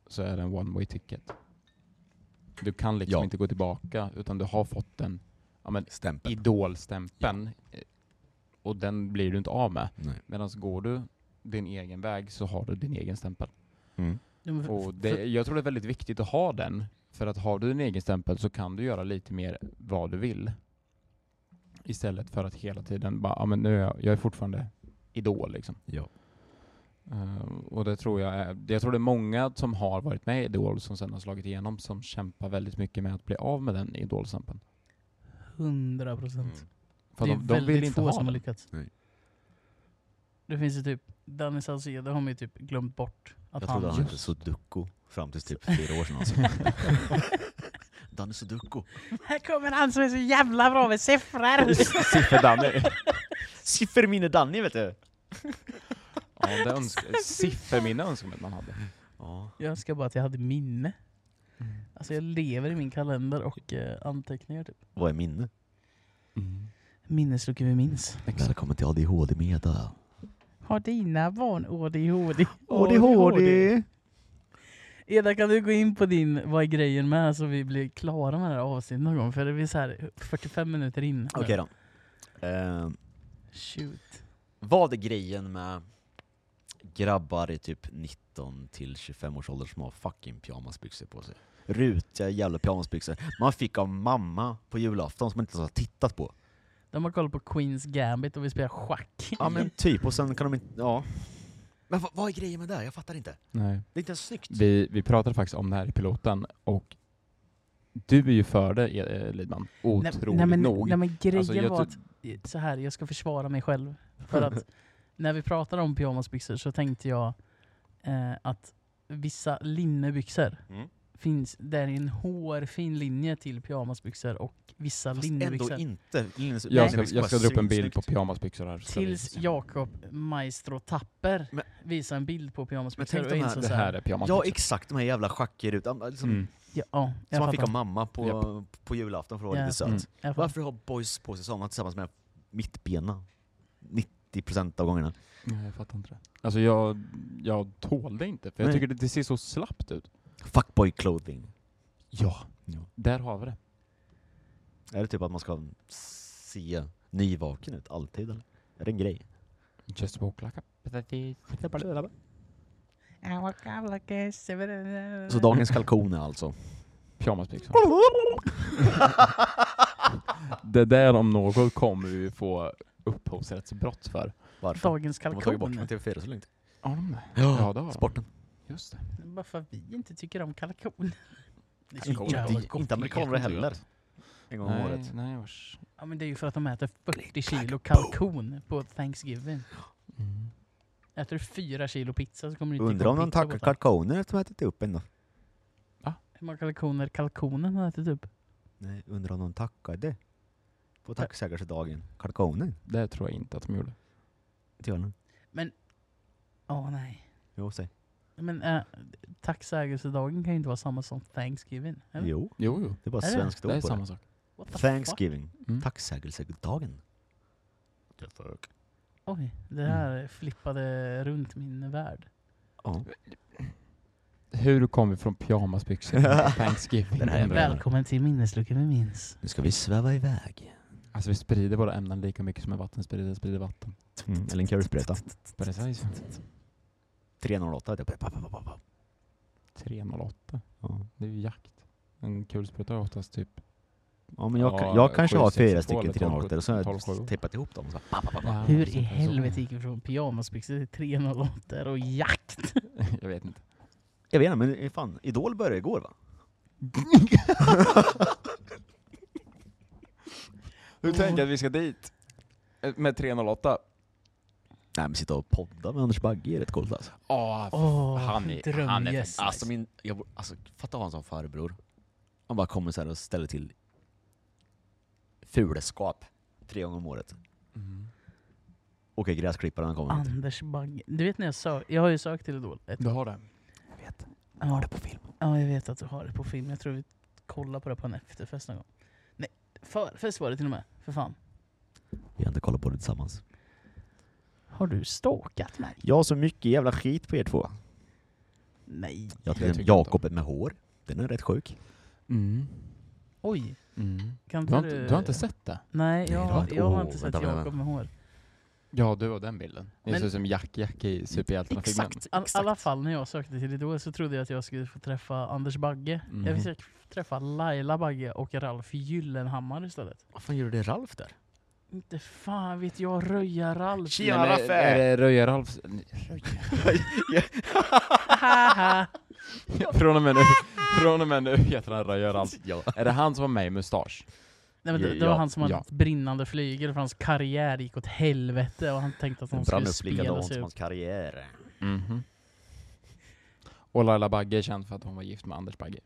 Speaker 2: så är det en one way ticket. Du kan liksom
Speaker 3: Ja.
Speaker 2: inte gå tillbaka utan du har fått den ja, men
Speaker 3: Stämpel.
Speaker 2: idolstämpeln eh, och den blir du inte av med.
Speaker 3: Nej.
Speaker 2: Medan går du din egen väg så har du din egen stämpel.
Speaker 3: Mm.
Speaker 1: Ja, men för-
Speaker 2: Och det, jag tror det är väldigt viktigt att ha den, för att har du din egen stämpel så kan du göra lite mer vad du vill. Istället för att hela tiden bara, ja men nu är jag, jag är fortfarande idol liksom.
Speaker 3: Ja.
Speaker 2: Eh, och det tror jag är, jag tror det är många som har varit med i Idol som sen har slagit igenom som kämpar väldigt mycket med att bli av med den idolstämpeln.
Speaker 1: 100 procent.
Speaker 3: Mm.
Speaker 2: För
Speaker 1: det är
Speaker 2: de, de
Speaker 1: väldigt
Speaker 2: vill inte
Speaker 1: få
Speaker 2: ha
Speaker 1: som har
Speaker 2: den.
Speaker 1: lyckats.
Speaker 3: Nej.
Speaker 1: Det finns ju typ, Danny Saucedo har man ju typ glömt bort att
Speaker 3: Jag trodde han
Speaker 1: han...
Speaker 3: hette Sudoku fram till typ fyra år sedan alltså. Danny Sudoku.
Speaker 1: Här kommer han som är så jävla bra med siffror!
Speaker 2: Siffer-Danny.
Speaker 3: Siffermine Danny vet du!
Speaker 2: ja, det önsk- Sifferminne önskar man att man hade.
Speaker 3: Ja.
Speaker 1: jag önskar bara att jag hade minne. Alltså jag lever i min kalender och eh, anteckningar typ.
Speaker 3: Vad är minne?
Speaker 1: Mm. Minnesluckor vi minns.
Speaker 3: Välkommen till ADHD Meda.
Speaker 1: Har dina barn ADHD?
Speaker 4: ADHD!
Speaker 1: Eda kan du gå in på din Vad är grejen med? Så vi blir klara med det här avsnittet någon gång. För det är så här 45 minuter in.
Speaker 3: Okej då. Ehm,
Speaker 1: Shoot.
Speaker 3: vad är grejen med grabbar i typ 19 till 25 års ålder som har fucking pyjamasbyxor på sig? Rutiga jävla pyjamasbyxor. Man fick av mamma på julafton som man inte ens har tittat på.
Speaker 1: De har koll på Queens Gambit och vi spelar schack.
Speaker 3: Ja men typ, och sen kan de inte... Ja. Men vad, vad är grejen med det? Jag fattar inte.
Speaker 2: Nej.
Speaker 3: Det är inte ens snyggt.
Speaker 2: Vi, vi pratade faktiskt om det här i piloten och du är ju för det eh, Lidman, otroligt
Speaker 1: nej, men,
Speaker 2: nog.
Speaker 1: Nej, men grejen
Speaker 2: Alltså, jag
Speaker 1: var
Speaker 2: tror-
Speaker 1: att, så här, jag ska försvara mig själv. För att när vi pratade om pyjamasbyxor så tänkte jag eh, att vissa linnebyxor
Speaker 3: Mm.
Speaker 1: finns, det är en hårfin linje till pyjamasbyxor och vissa
Speaker 3: Fast
Speaker 1: linnebyxor.
Speaker 3: ändå inte. Linus,
Speaker 2: jag,
Speaker 1: nej,
Speaker 2: ska, jag ska dra upp en bild på pyjamasbyxor här. ska vi
Speaker 1: Tills
Speaker 2: se.
Speaker 1: Jakob Maestro Tapper
Speaker 3: Men-
Speaker 1: visar en bild på
Speaker 3: Men
Speaker 1: pyjamasbyxor
Speaker 3: tänk
Speaker 1: och
Speaker 3: de här-
Speaker 1: insåg
Speaker 2: Det
Speaker 1: så här,
Speaker 2: här är pyjamasbyxor.
Speaker 3: Ja exakt, de här jävla schackerutan. Liksom,
Speaker 2: liksom. Mm.
Speaker 1: ja, ja, jag
Speaker 3: Som man fick
Speaker 1: fattar.
Speaker 3: av mamma på, på julafton för att vara
Speaker 1: Ja.
Speaker 3: lite söt.
Speaker 2: Mm.
Speaker 1: Jag fattar.
Speaker 3: Varför har boys på sig sådana tillsammans med mittbena? 90% av gångerna.
Speaker 2: Nej, jag fattar inte det. Alltså jag, jag tålde inte, för jag
Speaker 3: Nej.
Speaker 2: tycker det, det ser så slappt ut.
Speaker 3: Fuckboy clothing.
Speaker 2: Ja.
Speaker 3: Ja.
Speaker 2: Där har vi det.
Speaker 3: Är det typ att man ska se nyvaken ut alltid eller? Är det en grej?
Speaker 2: Just boklacka.
Speaker 3: Så dagens kalkon är alltså?
Speaker 2: Pyjamasbyxor. det där om något kommer vi ju få upphovsrättsbrott för.
Speaker 3: Varför?
Speaker 1: Dagens
Speaker 3: De har tagit bort från
Speaker 1: kalkon.
Speaker 3: TV4 så länge.
Speaker 2: Har de det? Ja,
Speaker 3: Ja,
Speaker 2: det har de.
Speaker 3: sporten.
Speaker 2: Just det.
Speaker 1: Bara för att vi inte tycker om kalkon. Det är så
Speaker 3: Inte-
Speaker 1: jävla
Speaker 3: inte
Speaker 1: gott.
Speaker 3: amerikaner heller. En gång om
Speaker 2: Nej,
Speaker 3: året.
Speaker 2: nej vars.
Speaker 1: Ja, men det är ju för att de äter 40 kilo kalkon på Thanksgiving.
Speaker 2: Mm.
Speaker 1: Äter du fyra kilo pizza så kommer du inte
Speaker 3: Undrar om
Speaker 1: tycka
Speaker 3: de
Speaker 1: pizza
Speaker 3: tackar
Speaker 1: på Thanksgiving.
Speaker 3: kalkoner efter att de ätit upp en då?
Speaker 1: Hur många kalkoner kalkonen har ätit upp?
Speaker 3: Nej, undrar om de tackade? På tacksägelsedagen. Kalkoner?
Speaker 2: Det tror jag inte att de gjorde.
Speaker 3: Inte jag nu.
Speaker 1: Åh nej.
Speaker 3: Jo, säg.
Speaker 1: Men äh, tacksägelsedagen kan ju inte vara samma som Thanksgiving. eller?
Speaker 3: Jo,
Speaker 2: Jo, jo.
Speaker 3: det är bara
Speaker 1: Är det?
Speaker 3: svenskt
Speaker 2: det är
Speaker 3: ord på
Speaker 2: samma
Speaker 3: det.
Speaker 2: sak.
Speaker 1: What the fuck?
Speaker 3: Thanksgiving.
Speaker 2: Mm.
Speaker 3: Tacksägelsedagen. What the fuck?
Speaker 1: Oj, det här flippade runt min värld.
Speaker 3: Ja.
Speaker 2: Mm. Hur kom vi från pyjamasbyxor till Thanksgiving?
Speaker 3: Den här jävla-
Speaker 2: Väl-
Speaker 1: Välkommen till Minnesluckan vi minns.
Speaker 3: Nu ska vi sväva iväg.
Speaker 2: Alltså vi sprider våra ämnen lika mycket som en vattensprider sprider vatten.
Speaker 3: Mm, eller en kulspreta.
Speaker 2: Precis.
Speaker 3: 308 vet jag. Pa, pa, pa, pa, pa.
Speaker 2: 308.
Speaker 3: Ja.
Speaker 2: Det är ju jakt. En kulspruta är oftast typ...
Speaker 3: Ja, men jag,
Speaker 2: Ja,
Speaker 3: kan- jag kanske
Speaker 2: sju,
Speaker 3: har
Speaker 2: sex,
Speaker 3: fyra
Speaker 2: två
Speaker 3: stycken
Speaker 2: eller
Speaker 3: 308 och så har
Speaker 2: 12,
Speaker 3: jag
Speaker 2: sju.
Speaker 3: tejpat ihop dem. Så här, pa, pa, pa, pa.
Speaker 2: Ja,
Speaker 1: Hur
Speaker 2: så-
Speaker 1: i helvete gick vi från pyjamasbyxor till 308 och jakt?
Speaker 2: jag vet inte.
Speaker 3: Jag vet inte, men fan, Idol började igår va?
Speaker 2: Hur tänker du att vi ska dit? Med 308?
Speaker 3: Nej men sitta och podda med Anders Bagge är rätt coolt alltså.
Speaker 2: Ja, f-
Speaker 1: Åh,
Speaker 2: han är... Han är
Speaker 1: drömgäst.
Speaker 3: Alltså, min, jag, bor- alltså fatta att ha en sån farbror. Han bara kommer så här och ställer till fuleskap tre gånger om året.
Speaker 2: Mm.
Speaker 3: Och är gräsklippare när han kommer hit.
Speaker 1: Anders Bagge. Du vet när jag sök, jag har ju sökt till Idol. Ett,
Speaker 2: Du har det?
Speaker 1: jag har det på film. Ja, jag vet att du har det på film. Jag tror vi kollar på det på en efterfest någon gång. Nej, förfest var det till och med. För fan.
Speaker 3: Vi har inte kollat på det tillsammans.
Speaker 1: Har du stalkat mig?
Speaker 3: Jag har så mycket jävla skit på er två.
Speaker 1: Nej.
Speaker 3: Jag
Speaker 2: Jag
Speaker 3: tycker
Speaker 2: tycker
Speaker 3: att Jakob med hår, den är rätt sjuk.
Speaker 2: Mm.
Speaker 1: Oj.
Speaker 2: Mm.
Speaker 1: Kan
Speaker 2: Du, har inte, du har inte sett det?
Speaker 1: Nej,
Speaker 3: du
Speaker 1: jag,
Speaker 3: har
Speaker 1: har,
Speaker 3: inte-
Speaker 1: jag har
Speaker 3: Åh,
Speaker 1: inte sett
Speaker 3: vänta, vänta,
Speaker 1: Jakob med hår.
Speaker 2: Ja, du och den bilden. Det
Speaker 1: Men-
Speaker 2: ser ut som Jack Jack i superhjältefilmen.
Speaker 3: Exakt,
Speaker 1: I All,
Speaker 3: exakt.
Speaker 1: alla fall när jag sökte till Idol så trodde jag att jag skulle få träffa Anders Bagge.
Speaker 3: Mm.
Speaker 2: Mhm.
Speaker 1: Jag fick träffa Laila Bagge och Ralf Gyllenhammar istället.
Speaker 3: Vad fan gjorde det Ralf där?
Speaker 1: Inte fan vet jag, röja Ralf.
Speaker 3: Tjena,
Speaker 2: Nej, men
Speaker 3: Raffe!
Speaker 2: Är det Röja-Ralfs... Från och med nu, från och med nu heter han Röja-Ralf.
Speaker 3: Ja.
Speaker 2: Är det han som var med i Mustasch?
Speaker 1: Nej, men det, det
Speaker 2: Ja,
Speaker 1: var han som hade
Speaker 2: ja.
Speaker 1: ett brinnande flygel för hans karriär gick åt helvete och han tänkte att
Speaker 3: Den
Speaker 1: han
Speaker 3: brann
Speaker 1: skulle
Speaker 3: upp
Speaker 1: spela
Speaker 3: likadant
Speaker 1: sig
Speaker 3: som
Speaker 1: ut.
Speaker 3: hans karriär.
Speaker 2: Mhm. Och Laila Bagge är känd för att hon var gift med Anders Bagge.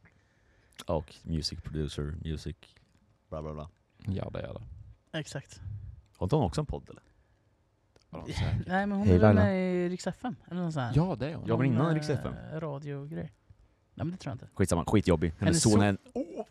Speaker 3: Och music producer, music... Bla bla bla.
Speaker 2: Ja, det är det.
Speaker 1: Exakt.
Speaker 3: Har inte hon också en podd eller?
Speaker 2: Vad de säger.
Speaker 1: Nej men hon
Speaker 2: Hej,
Speaker 1: är väl
Speaker 2: Laila.
Speaker 1: med i Rix FM eller något sånt här.
Speaker 2: Ja, det är hon.
Speaker 3: Ja, men
Speaker 1: Någon,
Speaker 3: innan Rix
Speaker 1: eh,
Speaker 3: FM.
Speaker 1: Radiogrej. Nej men det tror jag inte.
Speaker 3: Skitsamma, skitjobbig. Hennes
Speaker 1: Hennes
Speaker 3: son
Speaker 1: son-
Speaker 3: är en... Oh!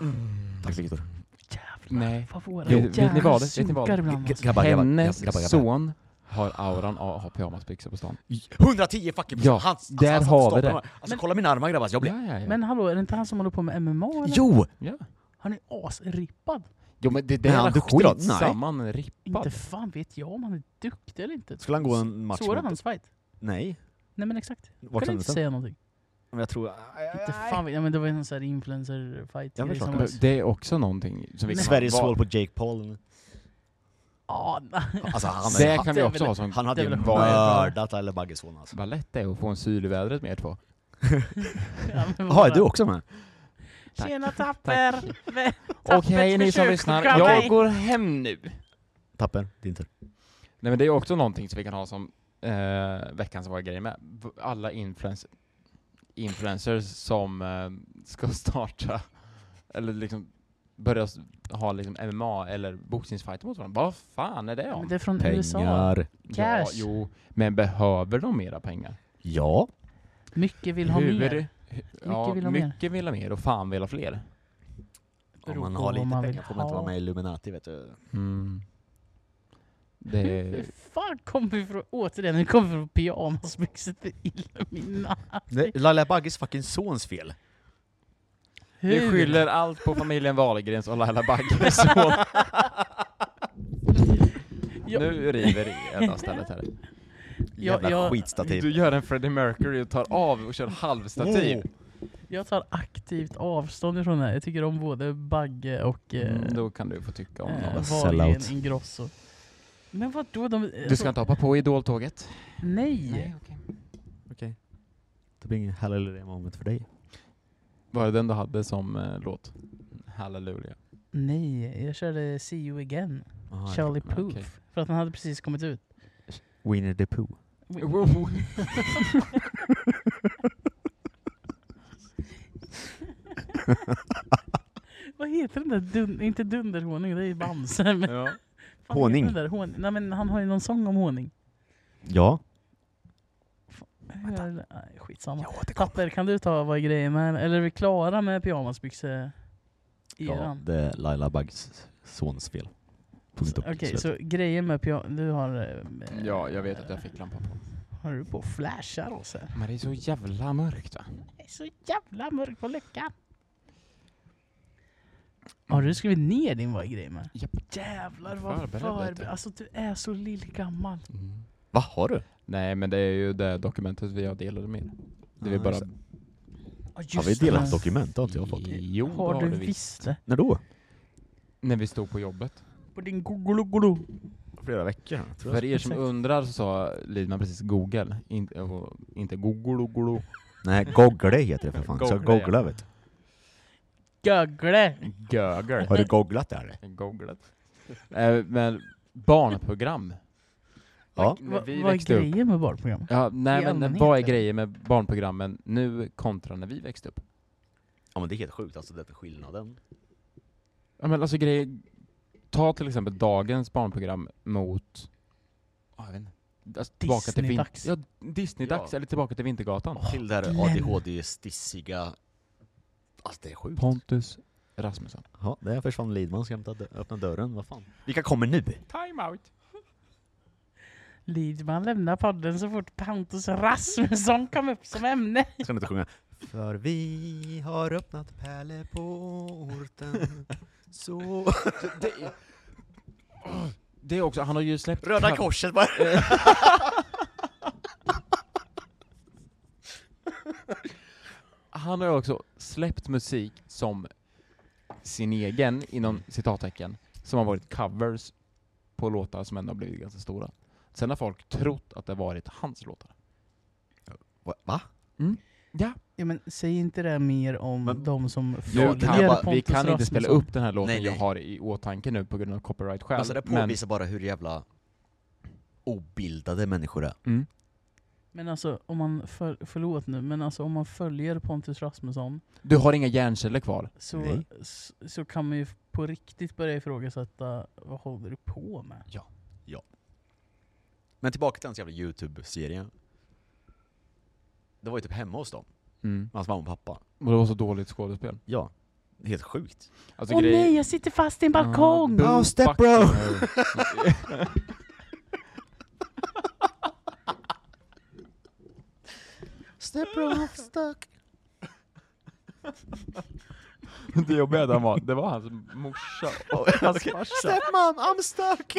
Speaker 2: Mm.
Speaker 3: Tack Viktor.
Speaker 1: Jävlar
Speaker 2: Nej.
Speaker 1: vad våra
Speaker 2: Vet- vet ni
Speaker 1: hjärnor
Speaker 2: vad det- vet ni vad det-
Speaker 1: synkar ibland alltså.
Speaker 3: Grabbar, grabbar,
Speaker 2: Hennes
Speaker 3: grabbar, grabbar.
Speaker 2: son har auran av att ha pyjamasbyxor på stan.
Speaker 3: 110 fucking
Speaker 2: Ja,
Speaker 3: Han- alltså,
Speaker 2: där
Speaker 3: alltså,
Speaker 2: har vi
Speaker 3: stoppa
Speaker 2: det.
Speaker 3: mig. Alltså kolla mina armar grabbar, jag blir...
Speaker 2: ja, ja.
Speaker 1: Men hallå, är det inte han som håller på med MMA eller?
Speaker 3: Jo!
Speaker 2: ja.
Speaker 1: Han är asrippad.
Speaker 2: Jo, men det
Speaker 3: Men är han
Speaker 2: där är
Speaker 3: duktig då?
Speaker 2: skitsamma, han är rippad.
Speaker 1: Inte fan vet jag om han är duktig eller inte.
Speaker 3: Skulle han gå en match
Speaker 1: Såg du
Speaker 3: mot-
Speaker 1: hans fight?
Speaker 3: Nej.
Speaker 1: Nej men exakt.
Speaker 3: Vart
Speaker 1: kan du inte
Speaker 3: sändes den?
Speaker 1: säga någonting?
Speaker 3: Men Jag tror...
Speaker 1: Inte fan vet jag, men det var ju någon sån här influencer fight
Speaker 3: Ja, men klart.
Speaker 2: Men Det är också någonting som vi kan
Speaker 3: Sveriges
Speaker 2: vara-
Speaker 3: svar på Jake Paul.
Speaker 1: Ja, nej.
Speaker 3: Alltså han,
Speaker 2: Det
Speaker 3: han,
Speaker 2: kan vi
Speaker 1: Det är
Speaker 2: också
Speaker 1: väl-
Speaker 2: ha som...
Speaker 3: han hade ju
Speaker 1: det är väl-
Speaker 3: mördat Laila Bagges son alltså.
Speaker 2: Vad lätt det är att få en syl i vädret med er
Speaker 1: Ja,
Speaker 2: två.
Speaker 1: men
Speaker 3: Jaha, är
Speaker 1: bara-
Speaker 3: du också med?
Speaker 2: Tack.
Speaker 1: Tjena Tapper! Tapper
Speaker 2: Okej ni som
Speaker 1: försök
Speaker 2: lyssnar,
Speaker 1: chockar mig.
Speaker 2: jag går hem nu.
Speaker 3: Tapper, din tur.
Speaker 2: Nej men det är också någonting som vi kan ha som eh, veckans våra grejer med. V- Alla influencers, influencers som eh, ska starta, eller liksom börja s- ha liksom MMA eller boxningsfighter mot varandra. Vad fan är det
Speaker 1: Ja, men
Speaker 2: om?
Speaker 1: det är från USA.
Speaker 2: Ja,
Speaker 1: Cash.
Speaker 2: jo, men behöver de mera pengar?
Speaker 3: Ja.
Speaker 1: Mycket vill ha
Speaker 2: Hur-
Speaker 1: mer.
Speaker 2: hu- Ja,
Speaker 1: vill
Speaker 2: mycket,
Speaker 1: ha mer.
Speaker 2: vill ha mer och fan vill ha fler.
Speaker 1: Beror
Speaker 3: Om man
Speaker 1: på
Speaker 3: har
Speaker 1: vad
Speaker 3: lite
Speaker 1: man
Speaker 3: pengar
Speaker 1: vill
Speaker 3: får man inte
Speaker 1: ha.
Speaker 3: vara med i Illuminati vet du.
Speaker 2: Mm. Det
Speaker 1: Hur fan kom vi från, återigen, nu kom vi från pyjamasbyxor till Illumina.
Speaker 3: Det är Laila Bagges fucking sons fel.
Speaker 2: Vi skyller allt på familjen Wahlgrens och Laila Bagges son.
Speaker 1: Ja.
Speaker 2: Nu river det ena stället här.
Speaker 3: Jävla skitstativ.
Speaker 2: Du gör en Freddie Mercury och tar av och kör halvstativ.
Speaker 3: Oh.
Speaker 1: Jag tar akt aktivt avstånd ifrån det här. Jag tycker om både Bagge och eh,
Speaker 2: Mm, då kan du få tycka om
Speaker 1: eh,
Speaker 2: dem.
Speaker 3: något.
Speaker 1: Wahlgren
Speaker 3: Sellout.
Speaker 1: Ingrosso. Men vadå? De, eh,
Speaker 2: Du ska inte hoppa på idoltåget?
Speaker 1: Nej!
Speaker 2: okej.
Speaker 3: Det blir ingen hallelujah moment för dig.
Speaker 2: Var det den du hade som eh, låt? Halleluja.
Speaker 1: Nej, jag körde See You Again,
Speaker 3: Aha,
Speaker 1: Charlie
Speaker 2: ja,
Speaker 1: Puth.
Speaker 2: okej.
Speaker 1: För att den hade precis kommit ut.
Speaker 3: Winnie the Pooh.
Speaker 1: Vad heter den där, dun, inte dunderhonung, det är ju Bamse. Men
Speaker 2: ja.
Speaker 1: fan heter
Speaker 3: Honung.
Speaker 1: den Där, hon, nej men han har ju någon sång om honung.
Speaker 3: Ja.
Speaker 1: Hur- Nej, skitsamma. Tapper, kan du ta vad är grejen med, eller är vi klara med pyjamasbyxor?
Speaker 3: ja,
Speaker 1: Eran?
Speaker 3: det är Laila Baggs sons fel. Punkt och
Speaker 1: Okej,
Speaker 3: slut.
Speaker 1: så grejen med pyjamas, du har... eh,
Speaker 2: ja, jag vet att jag fick lampan på.
Speaker 1: Har du på och flashar oss här?
Speaker 2: Men det är så jävla mörkt va?
Speaker 1: Det är så jävla mörkt på luckan. Har du skrivit ner din vad är grejen med?
Speaker 2: Japp.
Speaker 1: Jävlar vad
Speaker 2: Förberedd
Speaker 1: förberedd.
Speaker 2: lite.
Speaker 1: Alltså du är så lillgammal.
Speaker 2: Mm.
Speaker 3: Vad har du?
Speaker 2: Nej men det är ju det dokumentet vi har delade med. Det vi
Speaker 3: Ja,
Speaker 2: bara...
Speaker 3: just
Speaker 1: Ja, just
Speaker 3: Har vi
Speaker 1: det.
Speaker 3: delat dokument? Det har inte jag fått.
Speaker 2: Jo, det
Speaker 1: Har du
Speaker 2: vi.
Speaker 1: visst det?
Speaker 3: När då?
Speaker 2: När vi stod på jobbet.
Speaker 1: På din gogologolo.
Speaker 3: Flera veckor. Tror
Speaker 2: För er som
Speaker 1: Exakt.
Speaker 2: undrar så sa Lidman precis Google, In, äh, inte Google.
Speaker 3: Nej, Goggle heter det för fan. Så
Speaker 2: Goggle, ja.
Speaker 3: googla vet du.
Speaker 1: Gögle!
Speaker 2: Google.
Speaker 3: Har du googlat det här?
Speaker 2: Googlat. Eh, men barnprogram.
Speaker 3: Ja.
Speaker 2: När vi
Speaker 1: vad är
Speaker 2: växte upp.
Speaker 1: grejen med barnprogram?
Speaker 2: Ja, nej
Speaker 1: I
Speaker 2: men
Speaker 1: allmänhet,
Speaker 2: vad är
Speaker 1: eller?
Speaker 2: grejen med barnprogrammen nu kontra när vi växte upp?
Speaker 3: Ja men det är helt sjukt alltså, den skillnaden.
Speaker 2: Ja men alltså grejer, ta till exempel dagens barnprogram mot, ja, jag vet inte, alltså, tillbaka till vin-
Speaker 1: Disney-dags.
Speaker 2: ja, Disneydags
Speaker 3: Ja.
Speaker 2: eller tillbaka till Vintergatan.
Speaker 3: Till det här
Speaker 1: Glenn.
Speaker 3: ADHD-stissiga... Alltså det är sjukt.
Speaker 2: Pontus Rasmusson.
Speaker 3: Ja, där försvann Lidman, ska jag hämta dö- öppna dörren, vad fan. Vilka kommer nu?
Speaker 2: Time out.
Speaker 1: Lidman lämnar podden så fort Pontus Rasmusson kom upp som ämne.
Speaker 3: Ska ni inte sjunga? För vi har öppnat pärle på orten, så...
Speaker 2: Det är, Åh, det är också, han har ju släppt
Speaker 3: Röda korset bara!
Speaker 2: Han har ju också släppt musik som sin egen, inom citattecken, som har varit covers på låtar som ändå har blivit ganska stora. Sen har folk trott att det har varit hans låtar.
Speaker 3: Va? Va?
Speaker 2: Ja.
Speaker 1: Ja, men säg inte det mer om
Speaker 3: Men-
Speaker 1: de som
Speaker 2: Nu kan
Speaker 1: följer
Speaker 2: jag
Speaker 1: Pontus
Speaker 2: bara, vi kan inte spela
Speaker 1: Rasmusson.
Speaker 2: upp den här låten
Speaker 3: Nej, nej.
Speaker 2: jag har i åtanke nu på grund av copyright-skäl.
Speaker 3: Alltså det
Speaker 2: men-
Speaker 3: påvisar bara hur jävla obildade människor är.
Speaker 2: Mm.
Speaker 1: Men alltså, om man föl- förlåt nu, men alltså om man följer Pontus Rasmusson
Speaker 2: Du har inga hjärnceller kvar.
Speaker 1: så,
Speaker 3: Nej.
Speaker 1: så, så kan man ju på riktigt börja ifrågasätta vad håller du på med?
Speaker 3: Men tillbaka till hans jävla youtube-serie. Det var ju typ hemma hos dem,
Speaker 2: Mm.
Speaker 3: med hans mamma och pappa.
Speaker 2: Och det var så dåligt skådespel.
Speaker 3: Ja. Helt sjukt.
Speaker 2: Alltså
Speaker 1: Åh
Speaker 2: grejer-
Speaker 1: nej, jag sitter fast i en balkong!
Speaker 2: Ja,
Speaker 3: Oh,
Speaker 2: boom,
Speaker 3: step
Speaker 2: fuck
Speaker 3: bro.
Speaker 2: you.
Speaker 3: Step off stuck.
Speaker 2: det jobbiga är att han var, det var hans morsa och hans farsa.
Speaker 3: Stepmom, I'm stuck!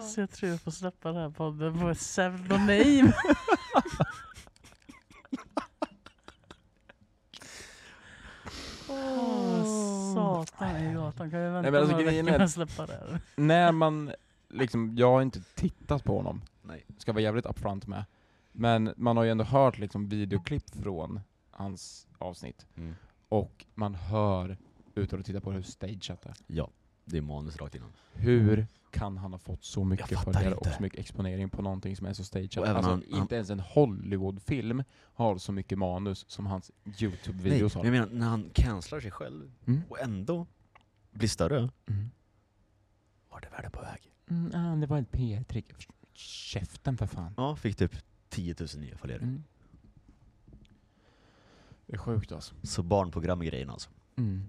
Speaker 1: Så jag tror jag får släppa den här podden på ett pseudonym. Åh, Satan i gatan, kan vi vänta
Speaker 2: Nej, men alltså,
Speaker 1: några
Speaker 2: grejen
Speaker 1: veckor med
Speaker 2: är-
Speaker 1: att släppa det här?
Speaker 2: När man liksom, jag har inte tittat på honom,
Speaker 3: Nej.
Speaker 2: ska vara jävligt upfront med. Men man har ju ändå hört liksom videoklipp från hans avsnitt.
Speaker 3: Mm.
Speaker 2: Och man hör, utan att titta på hur stageat det är.
Speaker 3: Ja, det är manus rakt innan.
Speaker 2: Hur kan han ha fått så mycket
Speaker 3: Mm. fattar
Speaker 2: följare och
Speaker 3: inte.
Speaker 2: så mycket exponering på någonting som är så stageat?
Speaker 3: Och även
Speaker 2: Alltså,
Speaker 3: han- han-
Speaker 2: inte ens en Hollywoodfilm har så mycket manus som hans
Speaker 3: Nej,
Speaker 2: Youtube-videos
Speaker 3: men
Speaker 2: har.
Speaker 3: jag menar, när han cancelar sig själv
Speaker 2: Mm.
Speaker 3: och ändå blir större.
Speaker 2: Mm.
Speaker 3: Var det världen på väg?
Speaker 2: Mm, ah, det var ett PR-trick. Käften för fan.
Speaker 3: Ja, fick typ 10 000 nya följare.
Speaker 2: Mm. Det är sjukt alltså.
Speaker 3: Så barnprogram-grejen alltså.
Speaker 2: Mm.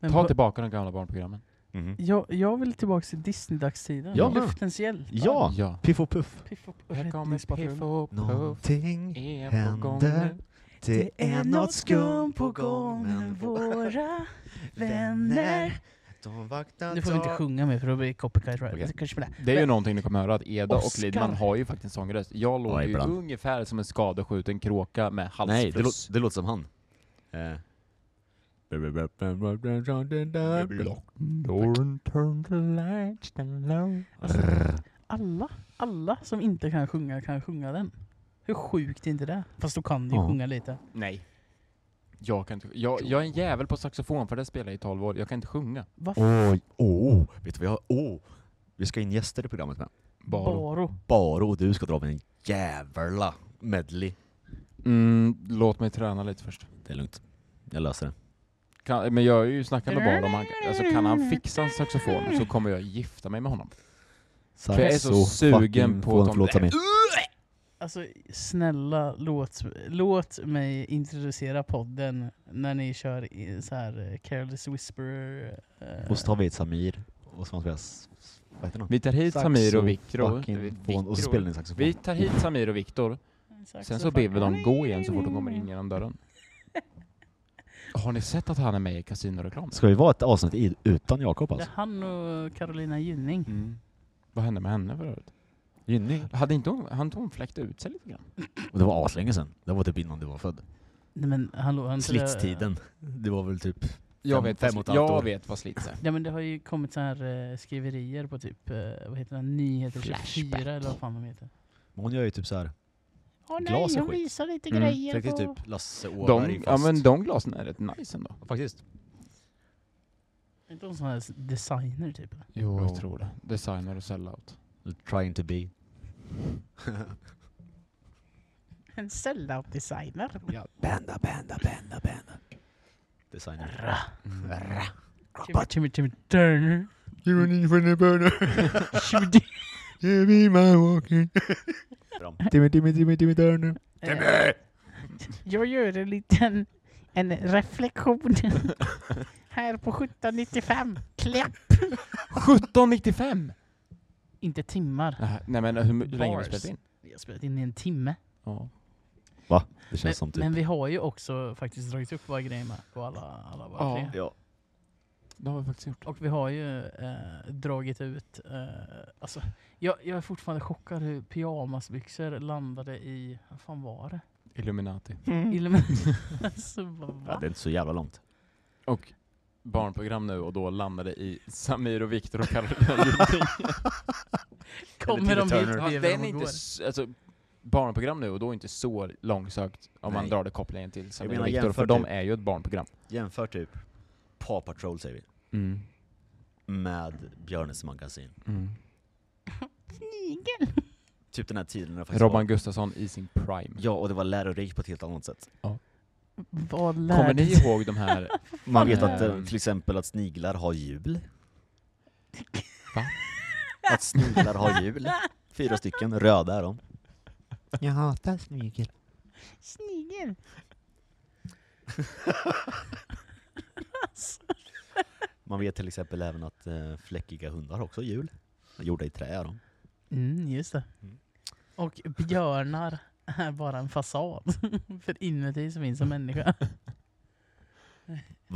Speaker 1: Men
Speaker 2: Ta
Speaker 1: på-
Speaker 2: tillbaka de gamla barnprogrammen.
Speaker 3: Mhm.
Speaker 1: jag, jag vill tillbaka till Disney-dagstiden.
Speaker 3: Ja.
Speaker 1: Luftens hjältar.
Speaker 3: Ja.
Speaker 2: ja.
Speaker 3: Piff och Puff.
Speaker 1: Piff och
Speaker 2: Här kommer Piff
Speaker 1: Räddningspatrullen.
Speaker 2: och Puff.
Speaker 4: Någonting,
Speaker 2: Är E på gång nu.
Speaker 4: händer. det är något skumt på gång med vår
Speaker 1: våra
Speaker 4: vänner.
Speaker 3: Aftonvakten
Speaker 1: Nu får vi inte
Speaker 3: tar-
Speaker 1: sjunga mer för då blir det copycat right.
Speaker 2: Okej.
Speaker 1: Kanske med
Speaker 2: Det är ju
Speaker 1: Men-
Speaker 2: någonting ni kommer höra, att Eda
Speaker 1: Oscar.
Speaker 2: och Lidman har ju faktiskt sångröst. Jag låter ju
Speaker 3: ibland.
Speaker 2: ungefär som en skadeskjuten kråka med
Speaker 3: Nej, det,
Speaker 2: halsfluss.
Speaker 3: lå- det låter som han. Eh.
Speaker 2: Don't turn the lights down
Speaker 1: Alltså, alla, alla som inte kan sjunga kan sjunga den. Hur sjukt är inte det? Fast då kan du ju
Speaker 3: Ja.
Speaker 1: sjunga lite.
Speaker 2: Nej. Jag, kan inte, jag, jag är en jävel på saxofon för det spelade jag i 12 år. Jag kan inte sjunga.
Speaker 1: Vad f-
Speaker 3: Oj, åh, vet du vad jag har? Åh! Vi ska in gäster i programmet med.
Speaker 2: Baro.
Speaker 1: Baro.
Speaker 3: Baro och du ska dra med en jävla medley.
Speaker 2: Mm, låt mig träna lite först.
Speaker 3: Det är lugnt. Jag löser det.
Speaker 2: Kan, men jag har ju snackat med Baro om han, alltså kan han fixa en saxofon så kommer jag gifta mig med honom. För jag är så sugen på att
Speaker 3: att låta mig.
Speaker 1: Alltså snälla låt, låt mig introducera podden när ni kör i, så här eh, Careless Whisperer. eh,
Speaker 3: Och så tar vi hit Samir och så har vi s- s- vad heter han?
Speaker 2: Vi tar hit Samir och Viktor.
Speaker 3: Saxofon, Och så spelar ni saxofon.
Speaker 2: Vi tar hit Samir och Viktor.
Speaker 1: saxofon.
Speaker 2: Sen så Mm. ber vi dem gå igen så fort de kommer in genom dörren. Har ni sett att han är med i kasinoreklam?
Speaker 3: Ska vi vara ett avsnitt i- utan Jakob
Speaker 1: Det är
Speaker 3: alltså?
Speaker 1: han och Carolina Gynning.
Speaker 2: Mm. Vad hände med henne för övrigt?
Speaker 3: Gynning.
Speaker 2: Hade inte hon, han hon fläkt ut sig lite grann?
Speaker 3: Och det var aslänge sen. Det var typ innan du var född.
Speaker 1: Nej, men hallå, han
Speaker 3: Slitstiden. Det var väl typ...
Speaker 2: Jag
Speaker 3: Fem-
Speaker 2: vet,
Speaker 3: fem
Speaker 2: vad-
Speaker 3: och ett halvt
Speaker 2: jag
Speaker 3: år.
Speaker 2: vet vad slits är.
Speaker 1: Ja men det har ju kommit så här eh, skriverier på typ, eh, vad heter den, Nyheter 24
Speaker 3: Flashback.
Speaker 1: eller vad fan de heter.
Speaker 3: Hon gör ju typ så här.
Speaker 1: Åh
Speaker 3: nej, Glas är hon skit.
Speaker 1: visar lite
Speaker 2: Mm,
Speaker 1: grejer
Speaker 3: Tänk dig typ Lasse Åberg
Speaker 2: De,
Speaker 3: fast...
Speaker 2: ja, men de glasen är rätt nice ändå.
Speaker 3: Faktiskt.
Speaker 1: Inte hon sån här designer typ?
Speaker 2: Jo,
Speaker 3: Ja.
Speaker 2: jag tror det. Designer och sellout.
Speaker 3: Trying to be.
Speaker 1: En sellout designer.
Speaker 3: Banda, banda, banda, banda. Designer.
Speaker 2: Mm.
Speaker 1: Timmy, Timmy, Timmy Turner.
Speaker 4: You need for the burner.
Speaker 1: Timmy, Timmy.
Speaker 4: Give me my walking.
Speaker 3: Bra.
Speaker 4: Timmy, Timmy, Timmy, Timmy Turner.
Speaker 1: Eh, Jag gör en liten en reflektion här på 1795. Klapp!
Speaker 2: 1795!
Speaker 1: Inte timmar.
Speaker 2: Nej men hur, hur länge har vi
Speaker 1: Bars.
Speaker 2: spelat in?
Speaker 1: Vi har spelat in i en timme.
Speaker 2: Ja.
Speaker 3: Det känns
Speaker 1: Men,
Speaker 3: som typ...
Speaker 1: men vi har ju också faktiskt dragit upp våra grejer med på alla, alla våra
Speaker 2: Ja.
Speaker 1: tre.
Speaker 3: Ja.
Speaker 2: Det har vi faktiskt gjort.
Speaker 1: Och vi har ju eh, dragit ut, eh, alltså, jag, jag är fortfarande chockad hur pyjamasbyxor landade i, vad fan var det?
Speaker 2: Illuminati.
Speaker 1: Mm. Illumin- alltså, bara,
Speaker 3: ja,
Speaker 1: va?
Speaker 3: det är inte så jävla långt.
Speaker 2: Och barnprogram nu och då landade i Samir och Viktor och Karolina Gylling.
Speaker 1: Kommer de hit
Speaker 3: Timmy Turner.
Speaker 1: bredvid
Speaker 2: Den
Speaker 1: dem och
Speaker 2: är inte,
Speaker 1: går?
Speaker 2: s- alltså, barnprogram nu och då är inte så långsökt om man
Speaker 3: Nej.
Speaker 2: drar det kopplingen till Samir
Speaker 3: menar,
Speaker 2: och Viktor, för
Speaker 3: jämfört
Speaker 2: de
Speaker 3: typ.
Speaker 2: är ju ett barnprogram.
Speaker 3: Jämför typ Paw Patrol säger vi,
Speaker 2: Mm,
Speaker 3: med Björnes magasin.
Speaker 1: Snigel!
Speaker 3: Typ den här tiden när det faktiskt
Speaker 2: Robban
Speaker 3: var...
Speaker 2: Gustafsson i sin prime.
Speaker 3: Ja, och det var lärorikt på ett helt annat sätt.
Speaker 1: Vad lärde
Speaker 2: Kommer ni ihåg de här,
Speaker 3: Man vet
Speaker 2: Mm.
Speaker 3: att eh, till exempel att sniglar har hjul.
Speaker 2: Va?
Speaker 3: Att sniglar har hjul. Fyra stycken, röda är de.
Speaker 4: Jag hatar smygel.
Speaker 1: Snigel!
Speaker 3: Man vet till exempel även att eh, fläckiga hundar har också hjul. Gjorda i trä är de.
Speaker 1: Mm, just det.
Speaker 3: Mm.
Speaker 1: Och björnar är bara en fasad. För inuti så finns en människa.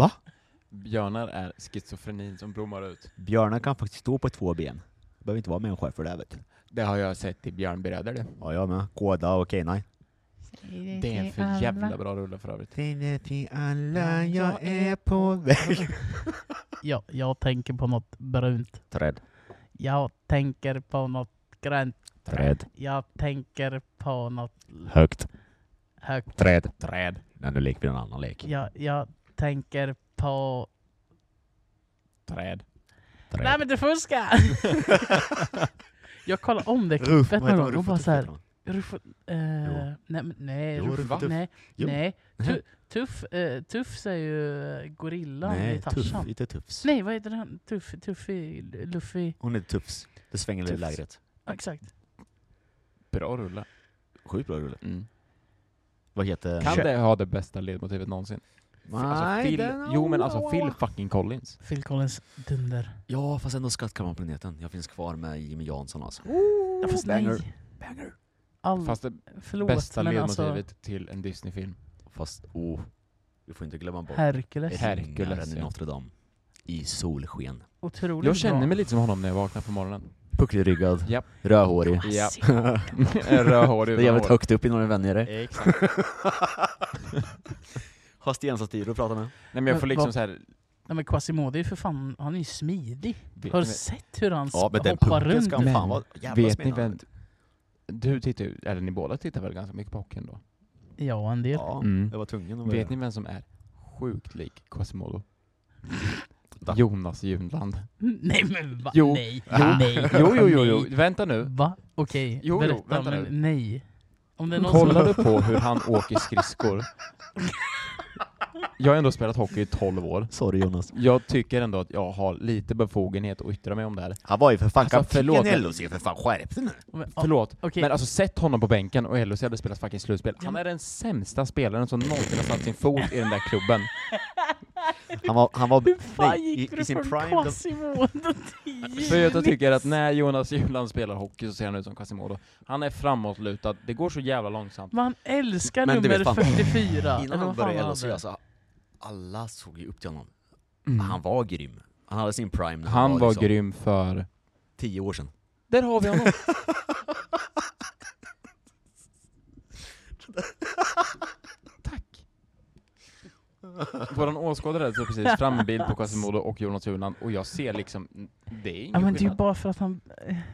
Speaker 2: björnar är schizofrenin som blommar ut?
Speaker 3: Björnar kan faktiskt stå på två ben. Behöver inte vara människa för det vet du.
Speaker 2: Det har jag sett i Björnbröder det.
Speaker 3: Ja, jag med. Kåda och Kenai.
Speaker 2: Det är en för jävla bra rulle för övrigt.
Speaker 4: Säg det till alla, jag är på väg.
Speaker 1: Ja, jag tänker på något brunt.
Speaker 3: Träd.
Speaker 1: Jag tänker på något grönt.
Speaker 3: Träd.
Speaker 1: Jag tänker på något
Speaker 3: Högt.
Speaker 1: högt.
Speaker 3: Träd. Träd. Nej, nu leker vi en annan lek.
Speaker 1: Jag, jag tänker på...
Speaker 2: Träd.
Speaker 3: Träd.
Speaker 1: Nej men du fuskar! jag kollar om det klippet någon gång och bara såhär... Ruff... Eh, nej, men nej,
Speaker 3: Jo,
Speaker 1: ruff,
Speaker 3: Ruff
Speaker 1: va?
Speaker 3: och Tuff.
Speaker 1: nej,
Speaker 3: Jo.
Speaker 1: nej. Tu, tuff, eh, tuff säger ju eh, gorillan i
Speaker 3: Nej, tuff.
Speaker 1: Tarzan.
Speaker 3: Inte tuffs.
Speaker 1: Nej, vad heter den? Tuff, Tuffy, Luffy...
Speaker 3: Hon är tuffs. Det svänger i
Speaker 2: Tuffs.
Speaker 3: lägret.
Speaker 1: Ja, exakt.
Speaker 2: Bra rulle.
Speaker 3: Sjukt bra rulle.
Speaker 2: Mm.
Speaker 3: Vad heter...
Speaker 2: Kan det ha det bästa ledmotivet någonsin? Alltså,
Speaker 4: Nej,
Speaker 2: Phil,
Speaker 4: den-
Speaker 2: jo men alltså Phil fucking Collins.
Speaker 1: Phil Collins dunder.
Speaker 3: Ja, fast ändå Skattkammarplaneten. Jag finns kvar med Jimmy Jansson alltså.
Speaker 1: Ja, fast
Speaker 3: banger.
Speaker 1: nej.
Speaker 3: Banger.
Speaker 1: All,
Speaker 2: Fast det
Speaker 1: förlåt,
Speaker 2: bästa
Speaker 1: men
Speaker 2: ledmotivet
Speaker 1: alltså...
Speaker 2: till en Disney-film.
Speaker 3: Fast, oh. Vi får inte glömma bort
Speaker 1: Hercules.
Speaker 2: Hercules,
Speaker 3: Herkules i
Speaker 2: ja.
Speaker 3: Notre Dame. i solsken.
Speaker 1: Otroligt
Speaker 2: Jag känner
Speaker 1: bra.
Speaker 2: mig lite som honom när jag vaknar på morgonen.
Speaker 3: Pucklig-ryggad,
Speaker 2: Japp.
Speaker 3: rödhårig.
Speaker 2: Ja.
Speaker 3: det
Speaker 2: Rödhårig
Speaker 3: är jävligt högt upp innan vi vänjer dig.
Speaker 2: Exakt.
Speaker 3: Har Stensatir att prata med.
Speaker 2: Nej men jag får
Speaker 1: Men
Speaker 2: liksom
Speaker 1: vad-
Speaker 2: så här.
Speaker 1: Nej men Quasimodo är ju för fan, han är ju smidig. Har du sett hur han
Speaker 3: Ja, men den
Speaker 1: hoppar
Speaker 3: pucken
Speaker 1: runt?
Speaker 3: ska han
Speaker 2: Men
Speaker 3: fan vara jävla
Speaker 2: Vet ni
Speaker 3: spännande.
Speaker 2: vem... Du tittar ju, eller ni båda tittar väl ganska mycket på hockeyn då?
Speaker 1: Ja, en del.
Speaker 3: Ja,
Speaker 2: Mm.
Speaker 3: jag var tvungen att
Speaker 2: Vet
Speaker 3: börja.
Speaker 2: ni vem som är sjukt lik Quasimodo?
Speaker 3: Va?
Speaker 2: Jonas Junland.
Speaker 1: Nej men va?
Speaker 2: Jo.
Speaker 1: Nej.
Speaker 2: Jo.
Speaker 1: Nej.
Speaker 2: Jo, jo, jo, jo,
Speaker 1: Nej.
Speaker 2: vänta nu.
Speaker 1: Va? Okej,
Speaker 2: Jo, jo,
Speaker 1: berätta.
Speaker 2: vänta nu.
Speaker 1: men, nej. Om det är någon
Speaker 2: Kollar
Speaker 1: som...
Speaker 2: du på hur han åker skridskor? Jag har ändå spelat hockey i 12 år.
Speaker 3: Sorry Jonas.
Speaker 2: Jag tycker ändå att jag har lite befogenhet att yttra mig om det här.
Speaker 3: Han var ju för fan
Speaker 2: Alltså,
Speaker 3: kapten
Speaker 2: förlåt,
Speaker 3: i
Speaker 2: men-
Speaker 3: LHC, för fan skärp dig nu!
Speaker 1: Men, ja,
Speaker 2: Förlåt,
Speaker 1: okej.
Speaker 2: men alltså sett honom på bänken och LHC hade spelat fucking slutspel.
Speaker 1: Ja,
Speaker 2: Han
Speaker 1: men-
Speaker 2: är den sämsta spelaren som någonsin har satt sin fot i den där klubben.
Speaker 3: Han var, han var,
Speaker 1: Hur fan
Speaker 3: nej,
Speaker 1: gick
Speaker 3: i,
Speaker 1: du
Speaker 3: i sin
Speaker 1: från
Speaker 3: prime, då,
Speaker 1: Quasimodo till
Speaker 2: För jag
Speaker 1: Jonas?
Speaker 2: tycker att när Jonas Junland spelar hockey så ser han ut som Quasimodo. Han är framåtlutad, det går så jävla långsamt.
Speaker 1: Man älskar
Speaker 3: Men du
Speaker 1: nummer
Speaker 3: vet fan-
Speaker 1: 44.
Speaker 3: innan han
Speaker 1: vad fan
Speaker 3: började
Speaker 1: var
Speaker 3: LHC,
Speaker 1: det?
Speaker 3: alltså, alla såg ju upp till honom.
Speaker 2: Mm.
Speaker 3: Han var grym. Han hade sin prime när
Speaker 2: Han var
Speaker 3: liksom
Speaker 2: grym för...
Speaker 3: tio år sedan.
Speaker 2: Där har vi honom! Tack! Våran åskådare hade precis fram en bild på Quasimodo och Jonas Junland och jag ser liksom, det är ingen
Speaker 1: Ja men det är ju
Speaker 2: skillnad.
Speaker 1: bara för att han,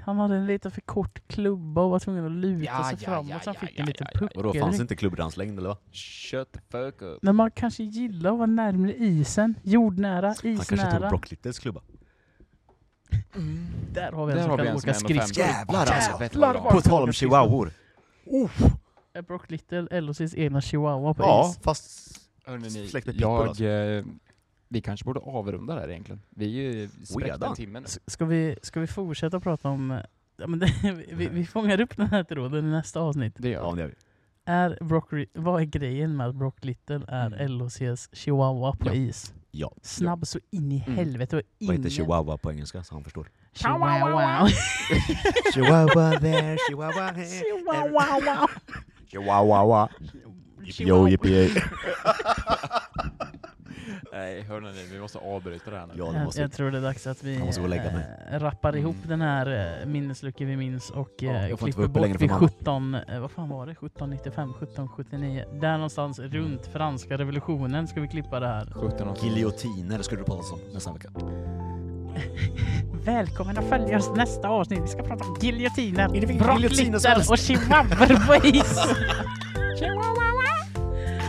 Speaker 1: han hade en lite för kort klubba och var tvungen att luta
Speaker 2: Ja,
Speaker 1: sig
Speaker 2: ja,
Speaker 1: framåt
Speaker 2: ja,
Speaker 1: så han
Speaker 2: ja,
Speaker 1: fick
Speaker 2: ja,
Speaker 1: en liten
Speaker 2: ja, ja.
Speaker 1: puck.
Speaker 3: Och då fanns
Speaker 1: eller?
Speaker 3: inte klubbrandslängd eller vad?
Speaker 2: Shut the fuck up.
Speaker 1: Men man kanske gillar att vara närmare isen, jordnära,
Speaker 3: Han kanske tog
Speaker 1: isnära.
Speaker 3: Brocklitters klubba.
Speaker 1: Där har vi en
Speaker 2: Där
Speaker 1: som
Speaker 2: har vi
Speaker 1: kan
Speaker 2: en som
Speaker 1: åka
Speaker 2: är 1,50.
Speaker 1: skridskor.
Speaker 3: Jävlar alltså!
Speaker 2: Jävlar vad
Speaker 3: På tal om chihuahuor.
Speaker 1: Är Brock Little LHCs egna chihuahua på
Speaker 3: Ja,
Speaker 1: is?
Speaker 3: fast...
Speaker 2: Hörrni, ni,
Speaker 3: Släkt med pitbull,
Speaker 2: jag...
Speaker 3: alltså.
Speaker 2: Eh, vi kanske borde avrunda där egentligen. Vi är ju spräckt
Speaker 3: Redan?
Speaker 2: en timme nu.
Speaker 1: S- Ska vi, ska vi fortsätta prata om... eh, Ja, men det, vi, vi fångar upp den här tråden i nästa avsnitt.
Speaker 2: Det gör
Speaker 3: Ja,
Speaker 2: vi.
Speaker 3: det gör vi.
Speaker 1: Är Brock, Ri- vad är grejen med att Brock Little är
Speaker 2: Mm.
Speaker 1: LHCs chihuahua på
Speaker 2: Ja.
Speaker 1: is?
Speaker 3: Ja.
Speaker 1: Snabb så in i
Speaker 2: Mm.
Speaker 1: helvete och ingen...
Speaker 3: Vad heter chihuahua på engelska så han förstår?
Speaker 1: Chihuahua.
Speaker 4: Chihuahua there, chihuahua here.
Speaker 1: Chihuahua.
Speaker 3: Chihuahua! Yo, yippee
Speaker 2: Nej, hörni, ni, vi måste avbryta det här nu.
Speaker 3: Ja, det
Speaker 1: Jag,
Speaker 3: måste
Speaker 1: jag tror det är dags att vi
Speaker 3: Jag måste gå och lägga mig.
Speaker 1: eh, rappar ihop
Speaker 2: Mm.
Speaker 1: den här eh, minnesluckan vi minns och eh,
Speaker 3: Ja, jag får
Speaker 1: klipper
Speaker 3: inte vara uppe längre
Speaker 1: bort
Speaker 3: för
Speaker 1: vid
Speaker 3: mamma.
Speaker 1: 17, eh, vad fan var det? 1795, 1779? Där någonstans runt franska revolutionen ska vi klippa det här.
Speaker 2: 17 och
Speaker 3: Giljotiner skulle det pratas om nästa vecka.
Speaker 1: Välkommen att följa oss nästa avsnitt. Vi ska prata om giljotiner,
Speaker 3: det finns giljotiner som
Speaker 1: brocklitter
Speaker 3: helst?
Speaker 1: och chihuahuor på is. Chihuahua.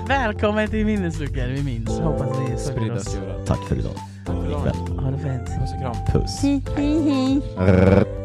Speaker 1: Välkommen till minnesluckan vi minns. Hoppas ni följer
Speaker 2: spridda
Speaker 1: oss.
Speaker 2: skurar.
Speaker 3: Tack för idag.
Speaker 2: Tack för idag.
Speaker 1: Ha det fint.
Speaker 2: Puss och kram.
Speaker 3: Puss.
Speaker 1: Hej, hej.
Speaker 3: Rrrr.